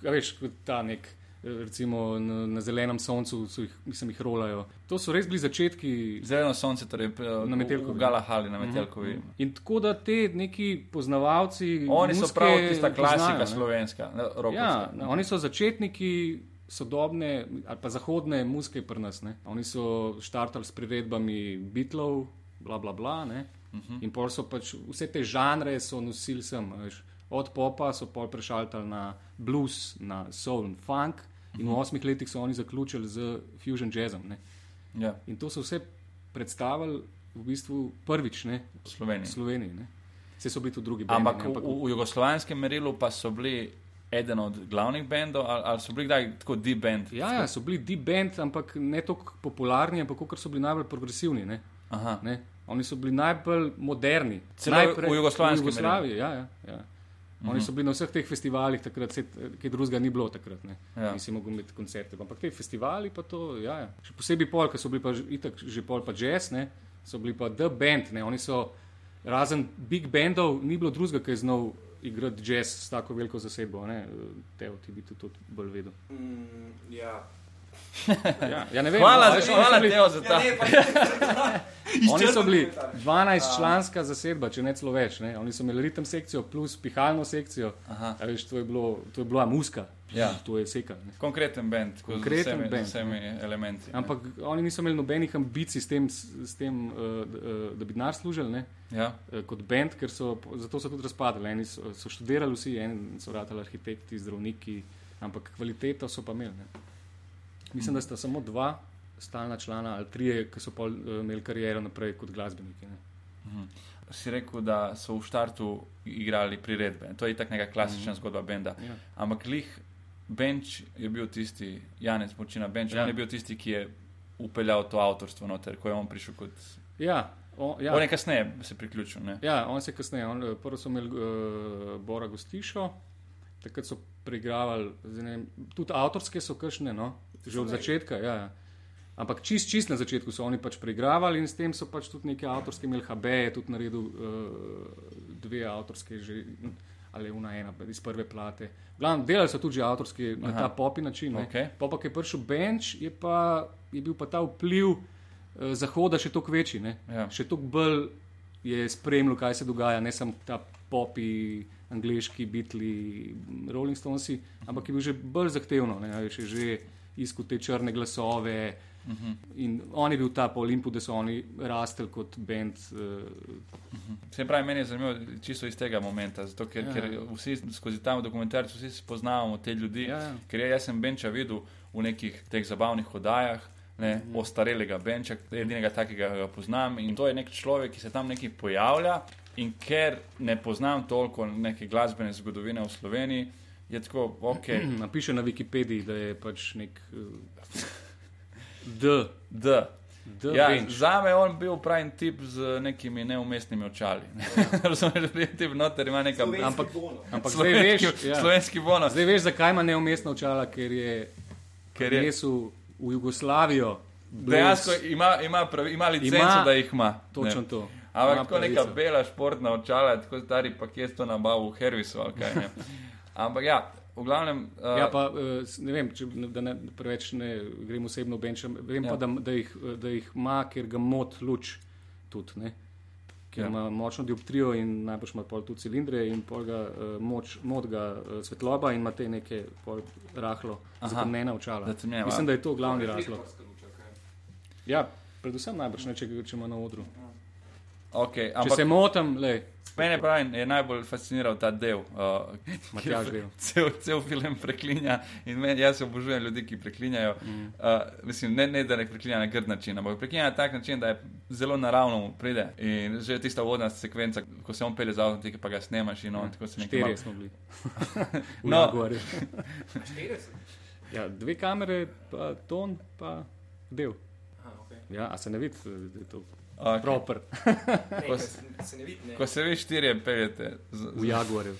S2: eh, veš, kot ta nek. eh, Recimo na, na zelenem soncu, so jih, mislim, jih rolajo. To so res bili začetki.
S3: Zeleno sonce, torej
S2: Na
S3: na
S2: Metelkovi. Mhm.
S3: Metelkovi. V Galahali, na Metelkovi.
S2: In tako da te neki poznavalci.
S3: Oni so
S2: muzike
S3: prav tista klasika
S2: poznajo, ne.
S3: poznajo, slovenska, ne,
S2: Ja,
S3: rokovska.
S2: ne, oni so začetniki sodobne ali pa zahodne muzike pri nas. Ne? Oni so štartali s priredbami Beatlov, bla bla bla. ne.
S3: Mhm.
S2: In pol so pač vse te žanre so nosili sem. a veš. Od popa so pol prešaltali na blues, na soul in funk. In
S3: Mhm.
S2: v osmih letih so oni zaključili z fusion jazzom. Ne?
S3: Ja,
S2: In to so vse predstavili v bistvu prvič ne?
S3: v Sloveniji.
S2: v Sloveniji. Ne? Vse so bili tudi drugi. bendi,
S3: Ampak
S2: ne,
S3: v, v jugoslovanskem merilu pa so bili eden od glavnih bendov, ali, ali so bili kdaj tako D-band.
S2: Ja, ja, so bili deep band, ampak ne tako popularni, ampak kot so bili najbolj progresivni. Ne?
S3: Aha.
S2: Ne? Oni so bili najbolj moderni.
S3: Celo v Mhm. jugoslovanskem
S2: V Jugoslaviji, ja, ja, ja. Oni so bili na vseh teh festivalih, takrat se kaj drugega ni bilo. Takrat, ne.
S3: Ja.
S2: Nisi mogel imeti koncerte. Ampak te festivali, pa to, ja, ja. še posebej pol, ki so bili pa že, itak, že pol pa jazz, ne? so bili pa The Band. Ne? Oni so, razen big bandov, ni bilo drugega, ki je znal igrati jazz s tako veliko zasedbo. ne. Teo, ti bi to tudi bolj vedel.
S4: Mm, ja.
S2: Ja, ja ne vem,
S3: Hvala,
S2: no,
S3: za-
S2: oni so
S3: hvala
S2: bili-
S3: Teo, za
S4: Ja,
S3: ta.
S4: ne, pa
S2: Oni so bili
S4: komentar.
S2: 12-članska zasedba, če ne celo več. Ne? Oni so imeli ritem sekcijo plus pihalno sekcijo. A Veš, to je bilo- to je bila muska.
S3: Ja.
S2: to je seka. Ne.
S3: Konkreten bend, tako z
S2: Konkreten ja.
S3: vsemi-
S2: band,
S3: z vsemi elementi. ne.
S2: Ampak oni niso imeli nobenih ambicij s tem, s s tem uh, da bi denar služili. Ne?
S3: Ja.
S2: eh, kot bend, ker so po- zato so tudi razpadli. Eni so, so študirali, vsi, eni so ratali arhitekti, zdravniki, ampak kvaliteto so pa imeli. Ne. Mislim, da sta samo dva stalna člana ali trije, ki so pol, eh, imeli kariero naprej kot glasbeniki. Ne.
S3: Si rekel, da so v startu igrali priredbe. To je tako neka klasična mm -hmm. zgodba benda.
S2: Ja.
S3: Ampak lih Benč je bil tisti, Janez Močina Benč,
S2: Ja.
S3: ja. on je bil tisti, ki je upeljal to avtorstvo noter, ko je on prišel kot.
S2: Ja, on,
S3: Ja. On je
S2: ja,
S3: kasneje se priključil. Ne?
S2: ja, on se je kasneje, on, eh, prvo so imeli uh, Bora Gostišo, takrat so preigravali, zdaj ne vem, tudi avtorske so kršne, no? že od začetka. Ja. ja. Ampak čist, čist na začetku so oni pač preigravali in s tem so pač tudi neke avtorske, imeli HB je tudi naredil uh, dve avtorske, že, ali una ena iz prve plate. Glavno, delali so tudi že avtorske na ta popi način. no.
S3: Okej.
S2: Okay. Pa pa, ki je prišel Benč, je, pa, je bil pa ta vpliv uh, Zahoda še toliko večji, ne?
S3: Ja.
S2: še toliko bolj je spremljal, kaj se dogaja, ne samo ta popi. Angliški, bitli, Rolling Stonesi, ampak je bil že bolj zahtevno, ne, a veš, je že iskal te črne glasove,
S3: Mhm.
S2: In on je bil ta po Olimpu, da so oni rastel kot bend. Uh,
S3: Se pravi, meni je zanimivo čisto iz tega momenta, zato ker,
S2: Ja.
S3: ja. ker vsi skozi ta dokumentarce vsi spoznavamo te ljudi.
S2: Ja, ja.
S3: Ker ja, jaz sem Benča videl v nekih teh zabavnih oddajah. Ne,
S2: Mhm.
S3: ostarelega Benča, edinega takega ki ga poznam. In to je nek človek, ki se tam nekaj pojavlja. In ker ne poznam toliko neke glasbene zgodovine v Sloveniji, je tako, ok,
S2: napiše na Wikipediji, da je pač nek uh, D.
S3: da.
S2: D
S3: Ja,
S2: bench.
S3: za me je on bil pravi tip z nekimi neumestnimi očali.
S2: Ja.
S3: Razumete, da je tip noter, ima neka
S4: Ampak,
S2: Ampak zdaj veš,
S3: slovenski,
S2: ja,
S3: slovenski bonus.
S2: zdaj veš, zakaj ima neumestna očala, ker je
S3: Ker je
S2: resel v Jugoslavijo. blues,
S3: Dejansko ima, ima, pravi, ima licenco,
S2: Ima-
S3: ima, da jih ima.
S2: Točno
S3: Ne.
S2: to.
S3: Ampak
S2: Ima
S3: tako neka
S2: pravico.
S3: bela športna očala, tako stari pa kje to nabavil v Hervisu ali kaj. Ne. Ampak ja, v glavnem. Uh,
S2: Ja, pa, eh, s- ne vem, če, da ne preveč ne grem osebno v benčem. Vem ja.
S3: Ja.
S2: pa, da, m- da, jih, eh, da jih ima, ker ga mot luč tudi. Ne? Ker ja.
S3: Ja.
S2: ima močno dioptrijo in najbrž ima pol tu cilindre in pol ga eh, moč, mod ga eh, svetloba in ima te neke pol rahlo zatemnjena očala.
S3: Zatemnjena,
S2: Mislim,
S3: ja.
S2: da je to glavni razlog. Ja, predvsem najbrž ne, če, ga- če ima na odru.
S3: okay,
S2: Če se
S3: ampak
S2: motim, le,
S3: mene pravi, je najbolj fasciniral ta del. Uh,
S2: Matjaž Gril.
S3: Cel, cel film preklinja in men, jaz obožujem ljudi, ki preklinjajo. Mm. Uh, mislim, ne, ne, da ne preklinja na grd način, ampak preklinja na tak način, da je zelo naravno mu pride. In že tista vodna sekvenca, ko se on pele za avtom, ti pa ga snemaš in on tako se nekaj
S2: Mm. Štirje
S3: malo-
S2: smo bili. V
S3: No.
S2: Jaguarju. ja, dve kamere, pa ton, pa del. Ja, a se ne vidi, da je to
S3: Okay.
S2: proper
S3: Ko
S4: Ne,
S3: s-
S4: se ne vidi, ne.
S3: Ko se vi štirje peljete, z-
S2: v Jaguarju.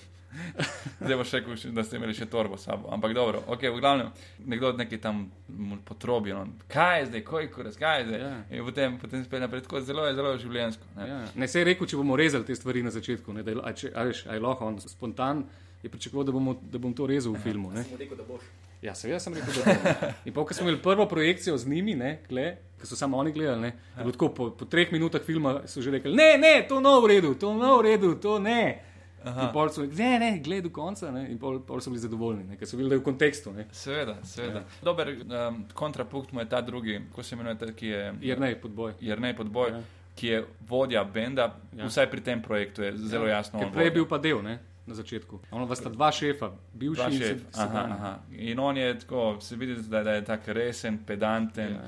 S3: zdaj bo še rekel, še- da ste imeli še torbo s sabo. Ampak dobro, okay, v glavnem, nekdo od neki tam mu potrobi, no, kaj je zdaj, kojko, razkaj je zdaj.
S2: Ja.
S3: Yeah. In potem, potem spet naprej, tako zelo je, zelo je življensko. Yeah.
S2: Ja. Ne, se je rekel, če bomo rezali te stvari na začetku, ne, da je, lo- a če, a veš, a je lahko on spontan. Je pričakoval, da, bomo, da bom to rezal v filmu. Ne?
S4: Sem rekel, da boš.
S2: Ja, seveda sem rekel, da bom. In pa, ko smo imeli prvo projekcijo z njimi, ne, kle, ki so samo oni gledali, ne, je bilo tako, po, po treh minutah filma so že rekli: ne, ne, to ni v redu, to ni v redu, to ne. In pol so rekli: ne, ne, gledaj do konca. Ne, in pol, pol so bili zadovoljni, ne, ker so bili da je v kontekstu. Ne.
S3: Seveda, seveda.
S2: Ja.
S3: Yeah. Dober um, kontrapunkt mu je ta drugi, ko se imenuje, ta, ki je
S2: Jer ne, podboj.
S3: Jrnej Podboj,
S2: Ja.
S3: yeah. ki je vodja benda,
S2: Ja.
S3: yeah. vsaj pri tem projektu je zelo yeah. jasno.
S2: Ker
S3: on
S2: prej je
S3: vodja.
S2: bil pa del, ne, na začetku. Ono vas sta dva šefa, bivši
S3: Dva
S2: in
S3: šef,
S2: sed-
S3: aha,
S2: sedanji.
S3: aha. In on je tako, se vidi, da, da je tako resen, pedanten, ja.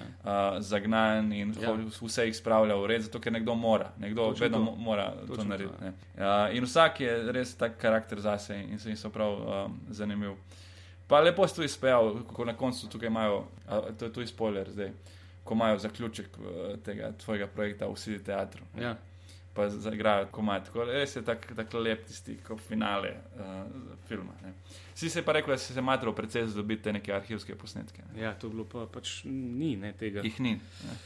S3: uh, zagnan in
S2: Ja.
S3: ja. vse jih spravlja v red, zato ker nekdo mora, nekdo
S2: Točno
S3: Točno vedno
S2: to.
S3: mo- mora
S2: Točno
S3: to
S2: to, ja.
S3: narediti. ne. Uh, in vsak je res tak karakter zase in se jim so prav um, zanimiv. Pa lepo ste to izpeljal, kako na koncu tukaj imajo, a, to je tu spoiler zdaj, ko imajo zaključek eh, tega tvojega projekta v Sidi teatru. ne
S2: Ja.
S3: pa zaigrajo komat. Tako, res je tako tak lep tisti, kot finale uh, filma. Ne. Vsi se pa rekli, da si se matro precej zdobite neke arhivske posnetke. Ne.
S2: ja, to je bilo pa pač ni ne, tega.
S3: Jih ni. ne.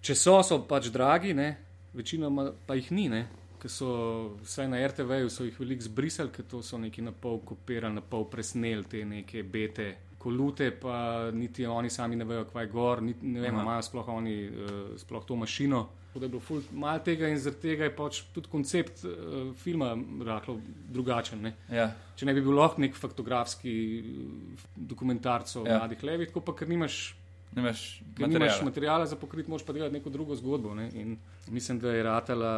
S2: Če so, so pač dragi, ne? večinoma pa jih ni, ne? ker so vsaj na RTV-ju so jih veliko zbrisali, ker to so neki na pol kopirali, na pol presneli te neke bete, kolute, pa niti oni sami ne vejo, kaj je gor, niti, ne vem,
S3: Aha.
S2: ali imajo sploh oni uh, sploh to mašino. Tako da je bilo ful malo tega in zaradi tega je pač tudi koncept uh, filma rahlo drugačen. Ne?
S3: Ja.
S2: Če ne bi bil lahko nek faktografski eh, dokumentarc o
S3: Ja.
S2: ja. mladih levih, tako pa ker nimaš
S3: Nimaš
S2: Ker nimaš
S3: materiala.
S2: materijala za pokrit, moraš pa delati neko drugo zgodbo. Ne? In mislim, da je ratala,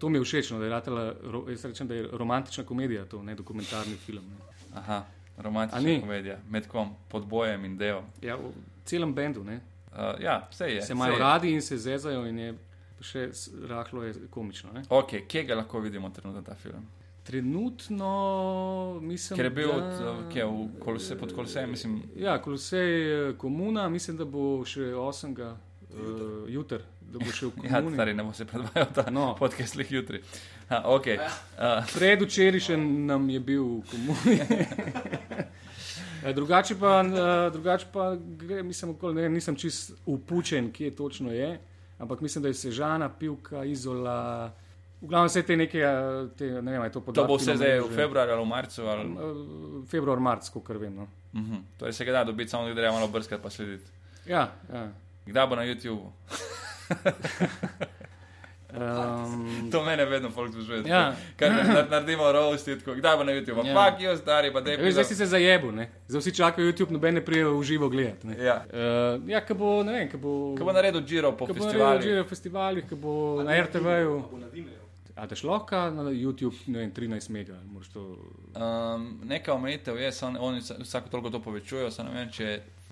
S2: to mi je všeč, no, da je ratala, ro- jaz rečem, da je romantična komedija, to ne dokumentarni film. Ne?
S3: Aha,
S2: A ni?
S3: romantična komedija, med kom, pod bojem in delom.
S2: Ja, v celem bendu ne?
S3: Uh, ja, vse je.
S2: se imajo
S3: saj je.
S2: radi in se zezajo, in je še s- rahlo je komično. Ne?
S3: Ok, kje ga lahko vidimo trenutno ta film?
S2: Trenutno mislim,
S3: Ker je bil
S2: da...
S3: od, eh, kje, v kolose, pod kolosejem, mislim,
S2: Ja, kolosej eh, komuna, mislim, da bo še 8. Uh, jutr, da bo še v
S3: ja,
S2: komuni.
S3: stari ne bo se predvajal ta no.
S2: No. Ja.
S3: podcast lih jutri. Ha, ok, uh,
S2: Predvčerajšnji nam je bil v komuni. Eh, drugače pa, eh, drugače pa gre, mislim, okoli, ne, vem, nisem čist upučen, kje točno je, ampak mislim, da je Sežana, Pivka, Izola, v glavnem vse te neke, eh, te, ne vem, a je to
S3: to
S2: področje.
S3: bo vse zdaj v februarju ali v marcu. Ali,
S2: Februar, marc, kot vem. No.
S3: uh -huh. Torej se ga da dobiti, samo da treba malo brskati pa slediti.
S2: Ja, ja.
S3: Kdaj bo na YouTubu?
S2: Um,
S3: To mene vedno folk združuje.
S2: Ja.
S3: Kar nar- naredimo roast, je tako, kdaj bo na YouTubu?
S2: Ja.
S3: Ja. Pak jo stari, pa dej
S2: Veš, zdaj si
S3: pizda.
S2: se zajebil, ne? zdaj vsi čakajo YouTube, noben ne prije v živo gledati. ne.
S3: Ja.
S2: Eh, Ja, ki bo, ne vem, ki bo.
S3: Ko bo naredil Giro po
S2: Ko bo na
S3: festivalu.
S2: režijo festivalih, ko bo na RTV-ju.
S4: Bo na Vimeo.
S2: A daš lahko na YouTube, ne vem, 13 mega, moraš to.
S3: Um, neka omejitev je, samo oni vsa- vsako toliko to povečujejo, samo ne vem, če je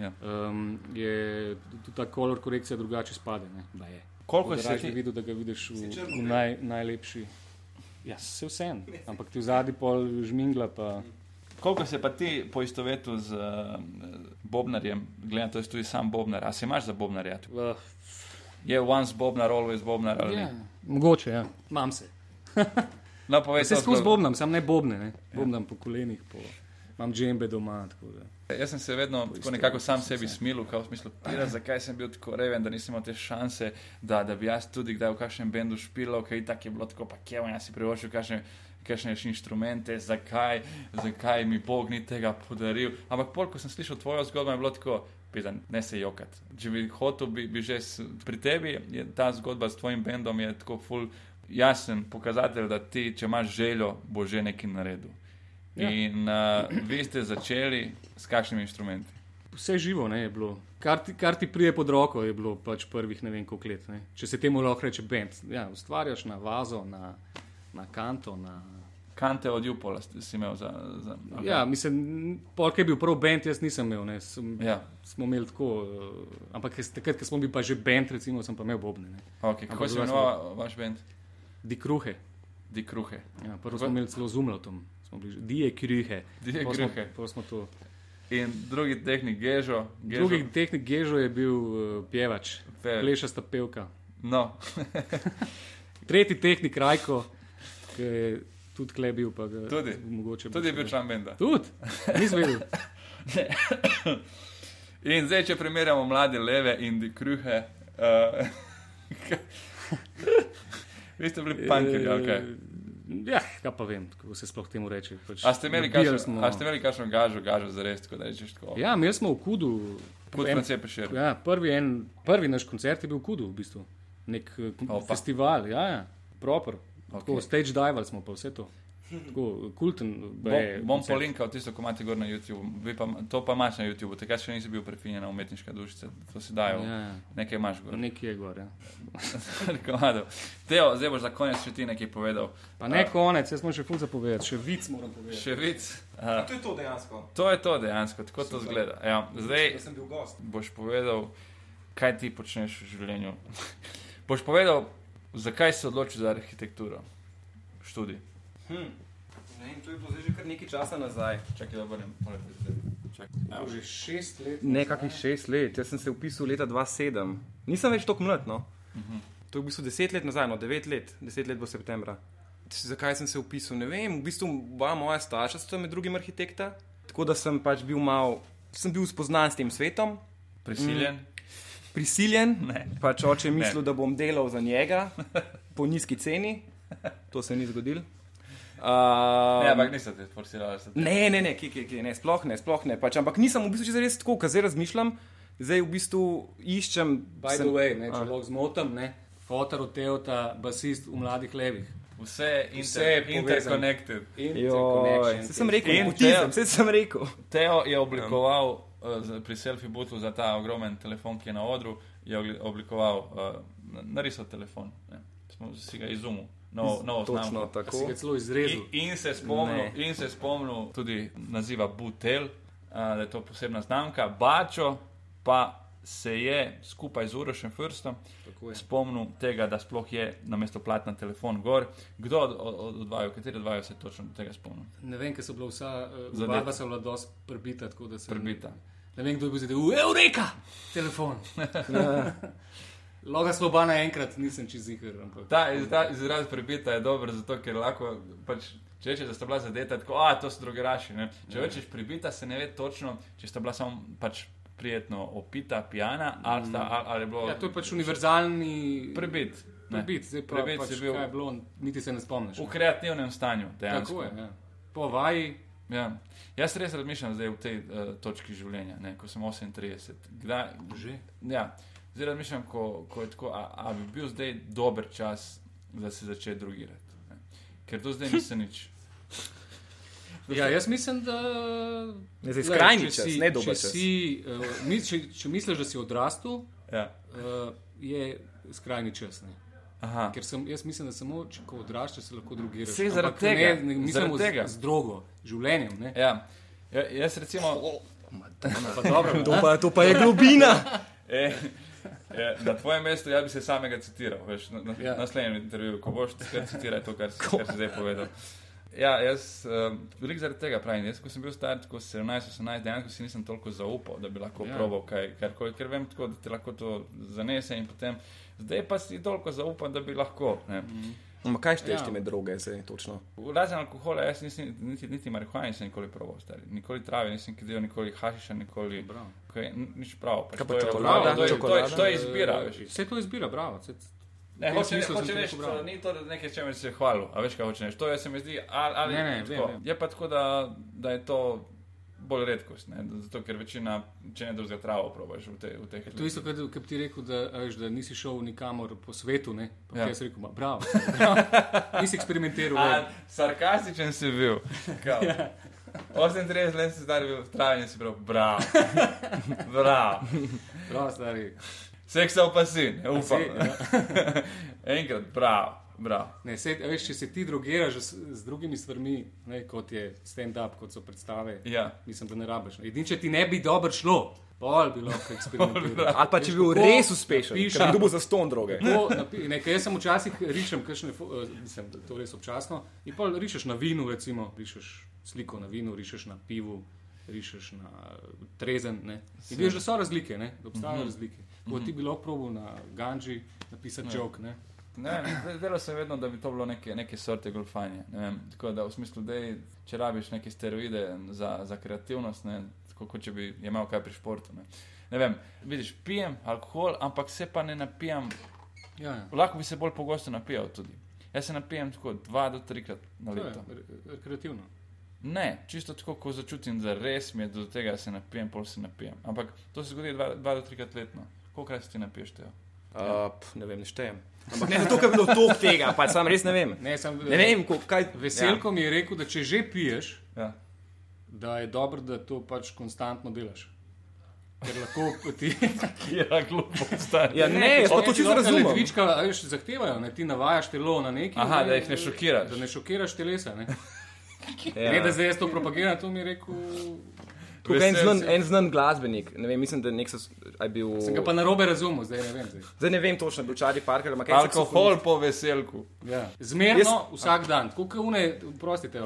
S3: Ja.
S2: um, je tudi ta kolor korekcija drugače spade. Ne, baje.
S3: Koliko
S2: Tako da
S3: si
S2: raje bi
S3: ti?
S2: videl, da ga vidiš v,
S4: Si črno
S2: v naj, najlepši. Ja, se vsem, ampak ti v zadnji pol žmingla pa.
S3: Koliko se pa ti poistovetil z uh, Bobnarjem, gledam, to je tudi sam Bobnar, a se imaš za Bobnarja?
S2: Uh,
S3: Je once Bobnar, always Bobnar ali
S2: ja,
S3: ne?
S2: mogoče, ja. Imam se.
S3: No, povej,
S2: Se
S3: to Ja.
S2: skozi
S3: zgodbo.
S2: bobnam, sam ne bobne, ne. bobnam po kolenih, po... imam džembe doma. tako da.
S3: E, Jaz sem se vedno tako nekako sam sebi smilil, kao v smislu, pira, zakaj sem bil tako reven, da nisem imel te šanse, da, da bi jaz tudi kdaj v kakšnem bendu špilal, kaj tak je bilo tako, pa kje bom jaz si privoščil kakšne, kakšne še inštrumente, zakaj, zakaj mi Bog ni tega podaril. Ampak pol, ko sem slišal tvojo zgodbo, je bilo tako. Pizda, ne se jokat. Če bi hotel, bi, bi že s, pri tebi, je, ta zgodba s tvojim bendom je tako ful jasen pokazatelj, da ti, če imaš željo, bo že nekaj naredil.
S2: Ja.
S3: In uh, vi ste začeli s kakšnimi inštrumenti?
S2: Vse živo ne, je bilo. Kar ti, kar ti prije pod roko je bilo pač prvih ne vem koliko let. Ne. Če se temu lahko reče bend. Ja, ustvarjaš na vazo, na, na kanto. Na...
S3: Kante od Jupola ste- si imel za. za
S2: Okay. Ja, mislim, polk je bil prav bend, jaz nisem imel. Ne, sem,
S3: ja.
S2: Smo imeli tako, eh, ampak jaz- takrat, ko smo bili pa že bend, recimo, sem pa imel bobne. Ne.
S3: Okay. Kako
S2: Ampak
S3: se
S2: druga
S3: imenuje vaš bend?
S2: Di kruhe.
S3: Di kruhe.
S2: Ja, prvo smo imeli celo z umlotom. Di je kruhe.
S3: Di je
S2: Pol smo-
S3: kruhe.
S2: pol smo to-
S3: In drugi tehnik, gežo, gežo.
S2: Drugi tehnik Gežo je bil uh, pjevač,
S3: Pevač.
S2: plešasta pevka.
S3: No,
S2: Tretji tehnik Rajko, ki je tudi klebil, pa ga
S3: Tudi?
S2: mogoče
S3: tudi je bil član benda.
S2: Tudi, nisem vedel.
S3: In zdaj, če primerjamo mlade leve in di kruhe. Uh, Vi ste bili pankerji, ok.
S2: Ja, kaj pa vem, kako se sploh temu reče. Pač,
S3: A ste imeli
S2: nabijali
S3: kakšno-
S2: smo-
S3: a ste imeli kakšno gažo, gažo za res, tako da rečeš tako?
S2: Ja, imeli smo v Kudu.
S3: Kot
S2: en-
S3: France Pešer.
S2: ja, prvi, en, prvi naš koncert je bil v Kudu, v bistvu. Nek eh,
S3: Opa.
S2: festival, ja, ja, proper.
S3: Okej.
S2: Okay. Stage dival smo pa vse to. Tako, kulten. baje
S3: Bom, bom
S2: koncert.
S3: polinkal tisto, ko imate gor na YouTubu, Vi pa, to pa imaš na YouTubu, takrat še nisi bil prefinjena umetniška dušica, to si dajo,
S2: Ja, ja.
S3: nekaj imaš gor.
S2: Nekje je gor. Ja.
S3: Rekomadov. Teo, zdaj boš za konec še ti nekaj povedal.
S2: Pa ne konec, jaz moram še fuz zapovedati, še vic moram povedati.
S3: Še vic. A,
S4: A To je to dejansko.
S3: to je to dejansko, tako to zgleda. Ja,
S4: Jaz
S3: zdaj
S4: sem bil gost.
S3: boš povedal, kaj ti počneš v življenju. boš povedal, zakaj si se odločil za arhitekturo. Študij.
S4: Hm. Ne, vem, to je bilo zdaj že kar nekaj časa nazaj.
S3: Čakaj, da obrnem.
S2: Evo, že šest let.
S5: Ne, kakih šest let. Jaz sem se upisal leta 2007. Nisem več tako mlad. No.
S4: Mhm.
S5: To je v bistvu deset let nazaj, no devet let, deset let bo septembra. Tš, Zakaj sem se upisal? Ne vem, v bistvu oba moja starša sta med drugim arhitekta, tako da sem pač bil mal, sem bil spoznan s tem svetom,
S3: Prisiljen.
S5: prisiljen. Pač oče je mislil, da bom delal za njega po nizki ceni, to se ni zgodilo. Uh,
S3: Ne, ampak niste te forsirali. ste te-
S5: Ne, ne, ne, ki, ki, ki, ne, sploh ne, sploh ne. Pač, ampak nisem v bistvu čisto res tako, kar zdaj razmišljam. Zdaj v bistvu iščem. Ah.
S2: By the way, ne, če lahko zmotam, ne. Fotor od Teota, basist v mladih levih.
S3: Vse, inter,
S2: Vse je povezano.
S3: interconnected.
S5: Joj,
S2: Interconnection.
S5: se sem rekel,
S3: In
S5: potisem,
S3: Teo.
S5: se sem rekel.
S3: Teo je oblikoval uh, z- pri selfie bootu za ta ogromen telefon, ki je na odru, je ogli- oblikoval, uh, narisal telefon. Ne. Smo si ga izumil, novo, novo
S5: Točno
S3: znamko.
S2: Si
S5: tako.
S2: ga celo
S3: In,
S2: izrezal.
S3: in, se spomnil,
S5: Ne.
S3: in se spomnil tudi naziva Butel, uh, da je to posebna znamka. Bačo pa se je skupaj z Urošem Frstom
S2: Tako je.
S3: spomnil tega, da sploh je na mesto platna telefon gor. Kdo od, od, od dvaju, kateri dvajo se je točno tega spomnil?
S2: Ne vem, ker so bila vsa, uh,
S3: Zadeta.
S2: oba dva sta bila dosti prbita, tako da se.
S3: Prbita.
S2: Ne vem, kdo je bil zdaj, v Eureka, telefon. Loga sloba naenkrat, nisem čez jih.
S3: Ta izra- izraz prebita je dober, zato ker lahko pač. Če rečeš, da sta bila zadeta, tako a to so drugeraši. Ne?
S2: Ja.
S3: Če rečeš pribita, se ne ve točno, če sta bila samo pač prijetno opita, pijana ali, sta, ali, ali je bilo.
S2: Ja, to je pač univerzalni
S3: prebit. ne.
S2: prebit, zdaj pa,
S3: Prebit
S2: pač,
S3: si bil-
S2: kaj je bilo, niti se ne spomniš.
S3: V kreativnem stanju, dejansko.
S2: Tako je. Ja. Po vaji,
S3: Ja. Jaz res razmišljam zdaj v tej uh, točki življenja, ne? ko sem 38. Kdaj,
S2: že.
S3: ja. Zdaj razmišljam, ko, ko je tako, a, a bi bil zdaj dober čas, da se začne drugirati. Ne? Ker do zdaj nisem nič.
S2: Ja, jaz mislim, da.
S5: Ne, zdaj
S2: Glej,
S5: skrajni
S2: če
S5: čas,
S2: si-
S5: ne dober
S2: če
S5: čas.
S2: Si, uh, mi, če, če misliš, da si odrastel, uh,
S3: Ja.
S2: je skrajni čas. Ne?
S3: Aha.
S2: Ker sem, jaz mislim, da samo če ko odraščaš, se lahko drugiraš.
S3: Saj zaradi
S2: Ampak
S3: tega,
S2: Ne, ne, mislim,
S3: zaradi
S2: z,
S3: tega.
S2: z drogo, življenjem. Ne?
S3: Ja. Ja, jaz recimo,
S5: To pa, to pa je globina.
S3: eh, eh, na tvojem mestu jaz bi se samega citiral. Veš, na, na,
S2: Ja.
S3: ja. Naslednjem intervjuju, ko boš ti citiral to, kar si, kar si zdaj povedal. Ja, jaz um, veliko zaradi tega pravim. Jaz, ko sem bil star, tako 17-18, dejansko si nisem toliko zaupal, da bi lahko
S2: Ja.
S3: ja. probal kaj, karkoli, ker vem, tako, da ti lahko to zanese in potem. Zdaj pa si toliko zaupam, da bi lahko. Ne.
S5: Ma kaj šteješ
S2: Ja.
S5: ti med droge, zdaj točno?
S3: Razen alkohola, jaz nisem niti, niti marihuana nisem nikoli probal, stari. nikoli trave nisem kadil, nikoli hašiša, nikoli.
S2: Bravo.
S3: Okay, nič prav. Pač
S5: Kaj pa
S3: to je-
S5: čokolada?
S3: E, To je, to je,
S5: Čokolada?
S3: to je izbira. Veš.
S2: Vse to izbira, bravo. Vse,
S3: Ne,
S2: tem
S3: hoče,
S2: Eh,
S3: smislu,
S2: smislu sem
S3: hoče
S2: to
S3: veš,
S2: pobral.
S3: to ni to da nekaj, čemer si se hvalil, a veš, kaj hoče neš. To je, se mi zdi, ali, ali
S2: Ne, ne,
S3: tako.
S2: vem, vem.
S3: Je pa tako, da, da je to bolj redkost, ne? zato ker večina, če ne drugega, travo probaš v, te, v teh
S2: to je isto, kot kot ti rekel, da, a veš, da nisi šel nikamor po svetu. Ne? Pa
S3: Ja.
S2: ja. jaz rekel, ma, bravo, nisi eksperimentiral.
S3: A,
S2: ne.
S3: sarkastičen si bil. Kao.
S2: Ja.
S3: 38 let si zdaj bil v travi in si bil brav. brav.
S2: Bravo, stari.
S3: Seksal pa si, ne upam.
S2: Saj, ja.
S3: Enkrat, brav, brav.
S2: Ne, sej, a veš, če se ti drogiraš z, z drugimi stvarmi, ne, kot je stand-up, kot so predstave,
S3: Ja.
S2: mislim, da ne rabiš. Edino, če ti ne bi dobro šlo, pol bi lahko eksperimentiral.
S5: Ali pa če bi bil
S2: kako
S5: res uspešen,
S2: napišem-
S5: ker bi dobil za ston droge.
S2: Tako napi- ne, ker jaz sem včasih rišem, kakšne, fo- eh, mislim, da to res občasno. In pa rišeš na vinu, recimo, rišeš sliko na vinu, rišeš na pivu, rišeš na eh, trezen. Ne. In veš, da so razlike, ne? da
S5: Mhm.
S2: obstajajo mm -hmm. razlike. Kot ti bi lahko probil na ganji
S5: Ja.
S2: napisati jok. Ne.
S3: Ne, vem, delo se je vedno, da bi to bilo neke, neke sorte golfanje. Ne vem, Tako da v smislu, da če rabiš neke steroide za, za kreativnost, ne, tako kot če bi imel kaj pri športu. Ne. Ne vem, vidiš, pijem alkohol, ampak se pa ne napijam.
S2: Ja, ja.
S3: Lahko bi se bolj pogosto napijal tudi. Jaz se napijem tako dva do trikrat na
S2: To je
S3: leto.
S2: re- rekreativno.
S3: Ne, čisto tako, ko začutim, da res mi je do tega, da se napijem, pol se napijem. Ampak to se zgodi dva, dva do trikrat letno. Kolikrat si ti napiješ tega?
S5: Uh, pf, ne vem, ne štejem. Ampak ne zato, ker je bilo toliko tega, pa sam res ne vem.
S2: Ne, sam,
S5: Ne vem, ko, kaj.
S2: Veselko ja. mi je rekel, da če že piješ,
S3: Ja.
S2: da je dobro, da to pač konstantno delaš. Ker lahko ti
S3: Ja, glupo, stari.
S5: Ja, ne, jaz pa to čisto razumem.
S2: Vička, veš, zahtevajo, ne? ti navajaš telo na nekaj.
S3: Aha,
S2: ne,
S3: da jih ne šokiraš.
S2: Da ne šokiraš telesa. Ne,
S5: Ja.
S2: ne da zdaj jaz to propagiram, to mi je rekel
S5: Tako en
S3: Veste,
S5: znan,
S3: si-
S5: en znan glasbenik, ne vem, mislim, da nek so, a je bil.
S2: Sem ga pa na robe razumel, zdaj ne vem. Zdaj.
S5: Zdaj ne vem točno, je bil Charlie Parker, ampak en
S3: Alkohol po veselku.
S2: Ja. Zmerno, Jaz... vsak dan, kot une, prostite.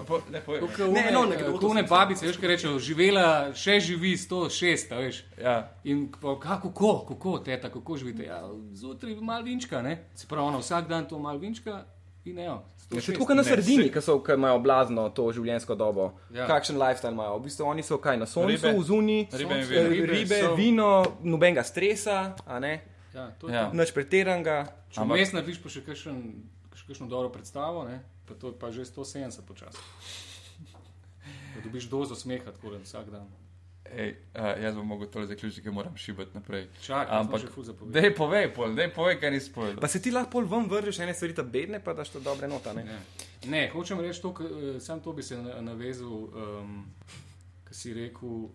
S5: Ne, no, nekdo to
S2: Kot une babice, veš, kaj rečejo, živela, še živi 106, a veš.
S3: Ja.
S2: In pa, kako, kako, teta, kako živite? Ja, zjutraj malo vinčka, ne? Se pravi, ona vsak dan to malo vinčka in evo.
S5: Je
S2: 106.
S5: Ja, še tako kot na sredini, ki so- ki imajo blazno to življenjsko dobo.
S2: Ja.
S5: Ja. Kakšen lifestyle imajo? V bistvu oni so kaj na soncu,
S3: Ribe.
S5: v zuni,
S3: Ribe in
S5: sonce,
S3: vino.
S5: ribe, ribe
S2: so-
S5: vino, nobenega stresa, a ne?
S2: Ja, to je
S3: Ja.
S2: to.
S5: nič pretiranga.
S2: Če
S3: Ampak-
S2: vmes narediš pa še kakšen, še kakšno dobro predstavo, ne? pa to je pa že 170 počasi. Da dobiš dozo smeha, tako da vsak dan.
S3: Ej, a, jaz bom mogel tole zaključiti, ker moram šibati naprej.
S2: Čakaj, jaz
S3: ampak
S2: sem še ful zapovedal.
S3: dej povej, pol, dej povej, kaj nisi povedal.
S5: Pa se ti lahko pol ven vrneš ene stvari, ta bedne, pa daš to dobre nota. Ne?
S2: Ne, ne hočem reči to, k, sam to bi se na- navezal, um, kar si rekel.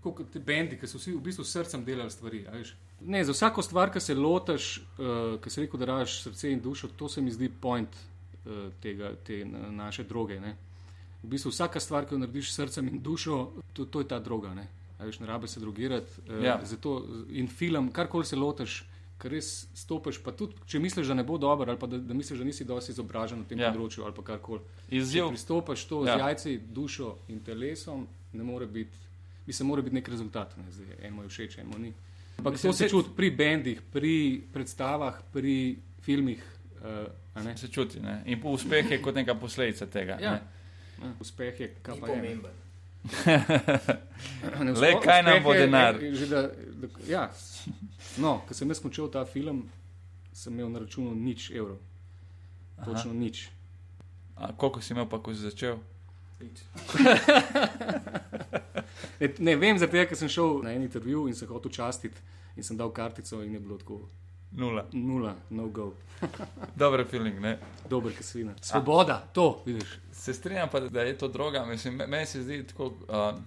S2: Kot te bendi, ki so vsi v bistvu s srcem delali stvari. a veš. Ne, za vsako stvar, ki se lotiš, uh, ki si rekel, da rabiš srce in dušo, to se mi zdi point uh, tega, te na, naše droge. Ne. V bistvu vsaka stvar, ki jo narediš s srcem in dušo, to, to je ta droga. Ne, A veš, ne rabe se drogirati. Uh,
S3: Ja.
S2: Zato in film, karkoli se lotiš, ker res stopiš, pa tudi če misliš, da ne bo dober ali pa da, da misliš, da nisi dosti izobražen na tem
S3: Ja.
S2: ja. področju ali pa karkoli. Če
S3: Izziv.
S2: pristopiš to ja.
S3: Ja.
S2: z jajci, dušo in telesom, ne more biti, mislim, mora biti nek rezultat. Ne? Zdaj, eno je všeč, eno ni. Ampak to
S3: Mislim,
S2: se
S3: saj-
S2: čuti pri bendih, pri predstavah, pri filmih. Uh, a ne?
S3: Se čuti, ne? In po- uspeh je kot neka posledica tega.
S2: Ja.
S3: ne.
S2: Ja, Uspeh je, kaj
S6: Ni
S2: pa je.
S6: pomemben.
S2: Ne,
S3: Le
S2: uspe-
S3: kaj nam
S2: uspeh
S3: bo
S2: je-
S3: denar?
S2: je- je že Da, da, ja. No, ko sem jaz končal ta film, sem imel na računu nič evrov. Točno nič.
S3: A koliko si imel, pa ko si začel?
S2: Ne, ne vem, zato ker sem šel na en intervju in sem hotel častiti in sem dal kartico in je bilo tako
S3: Nula.
S2: nula, no go.
S3: Dober feeling, ne?
S2: Dober kasvina. Svoboda, to vidiš.
S3: Se strinjam pa, da je to droga. Mislim, me- meni se zdi tako. Uh,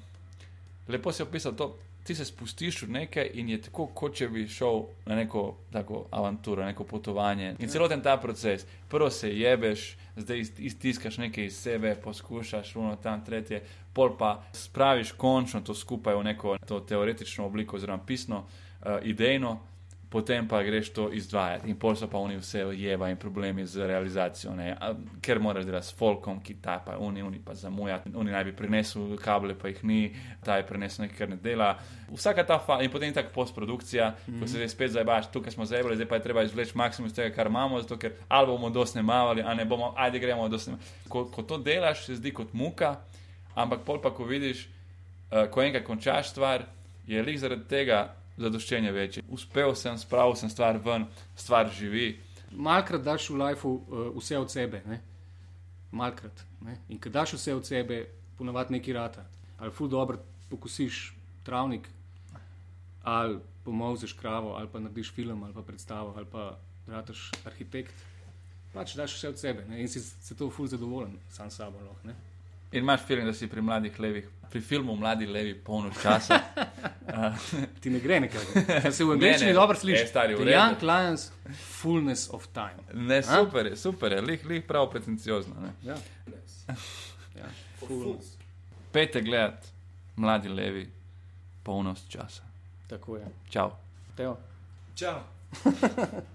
S3: lepo si opisal to. Ti se spustiš v nekaj in je tako, kot če bi šel na neko tako avanturo, neko potovanje. In celoten ta proces. Prvo se jebeš, zdaj iz- iztiskaš nekaj iz sebe, poskušaš uno tam tretje, pol pa spraviš končno to skupaj v neko to teoretično obliko, oziroma pisno, uh, idejno potem pa greš to izdvajati in pol so pa oni vse jeva in problemi z realizacijo, ne? A, ker moraš delati s folkom, ki ta pa oni, oni pa zamuja, oni naj bi prinesli kable, pa jih ni, ta je prinesel nekaj, kar ne dela. Vsaka ta faza in potem tako postprodukcija, mm -hmm. ko se zdaj spet zabaš, tukaj smo zebali, zdaj pa je treba izvleči maksimum iz tega, kar imamo, zato ker ali bomo dosnemavali, ali ne bomo, ajde gremo dosnemavali. Ko, ko to delaš, se zdi kot muka, ampak pol pa ko vidiš, eh, ko enkrat končaš stvar, je lik zaradi tega zadoščenje večje. Uspel sem, spravil sem stvar ven, stvar živi.
S2: Malkrat daš v lifeu uh, vse od sebe. Ne? Malkrat. Ne? In ko daš vse od sebe, ponavadi neki rata. Ali ful dobro pokusiš travnik, ali pomovzeš kravo, ali pa narediš film, ali pa predstavo, ali pa rataš arhitekt. Pač daš vse od sebe ne? in si zato ful zadovoljen sam s sabo. Lahko, ne?
S3: In imaš film, da si pri mladih levih, pri filmu Mladi levi, polno časa.
S2: Ti ne gre nekaj. Ker se v
S3: ne.
S2: angleščini dobro sliši.
S3: E, stari, v
S2: The
S3: redu.
S2: Young Lions, fullness of time.
S3: Ne, super je, super je, lih, lih prav pretenciozno. Ne.
S2: Ja.
S3: Pejte gledat, mladi levi, polnost časa.
S2: Tako je.
S3: Čau.
S2: Teo.
S6: Čau.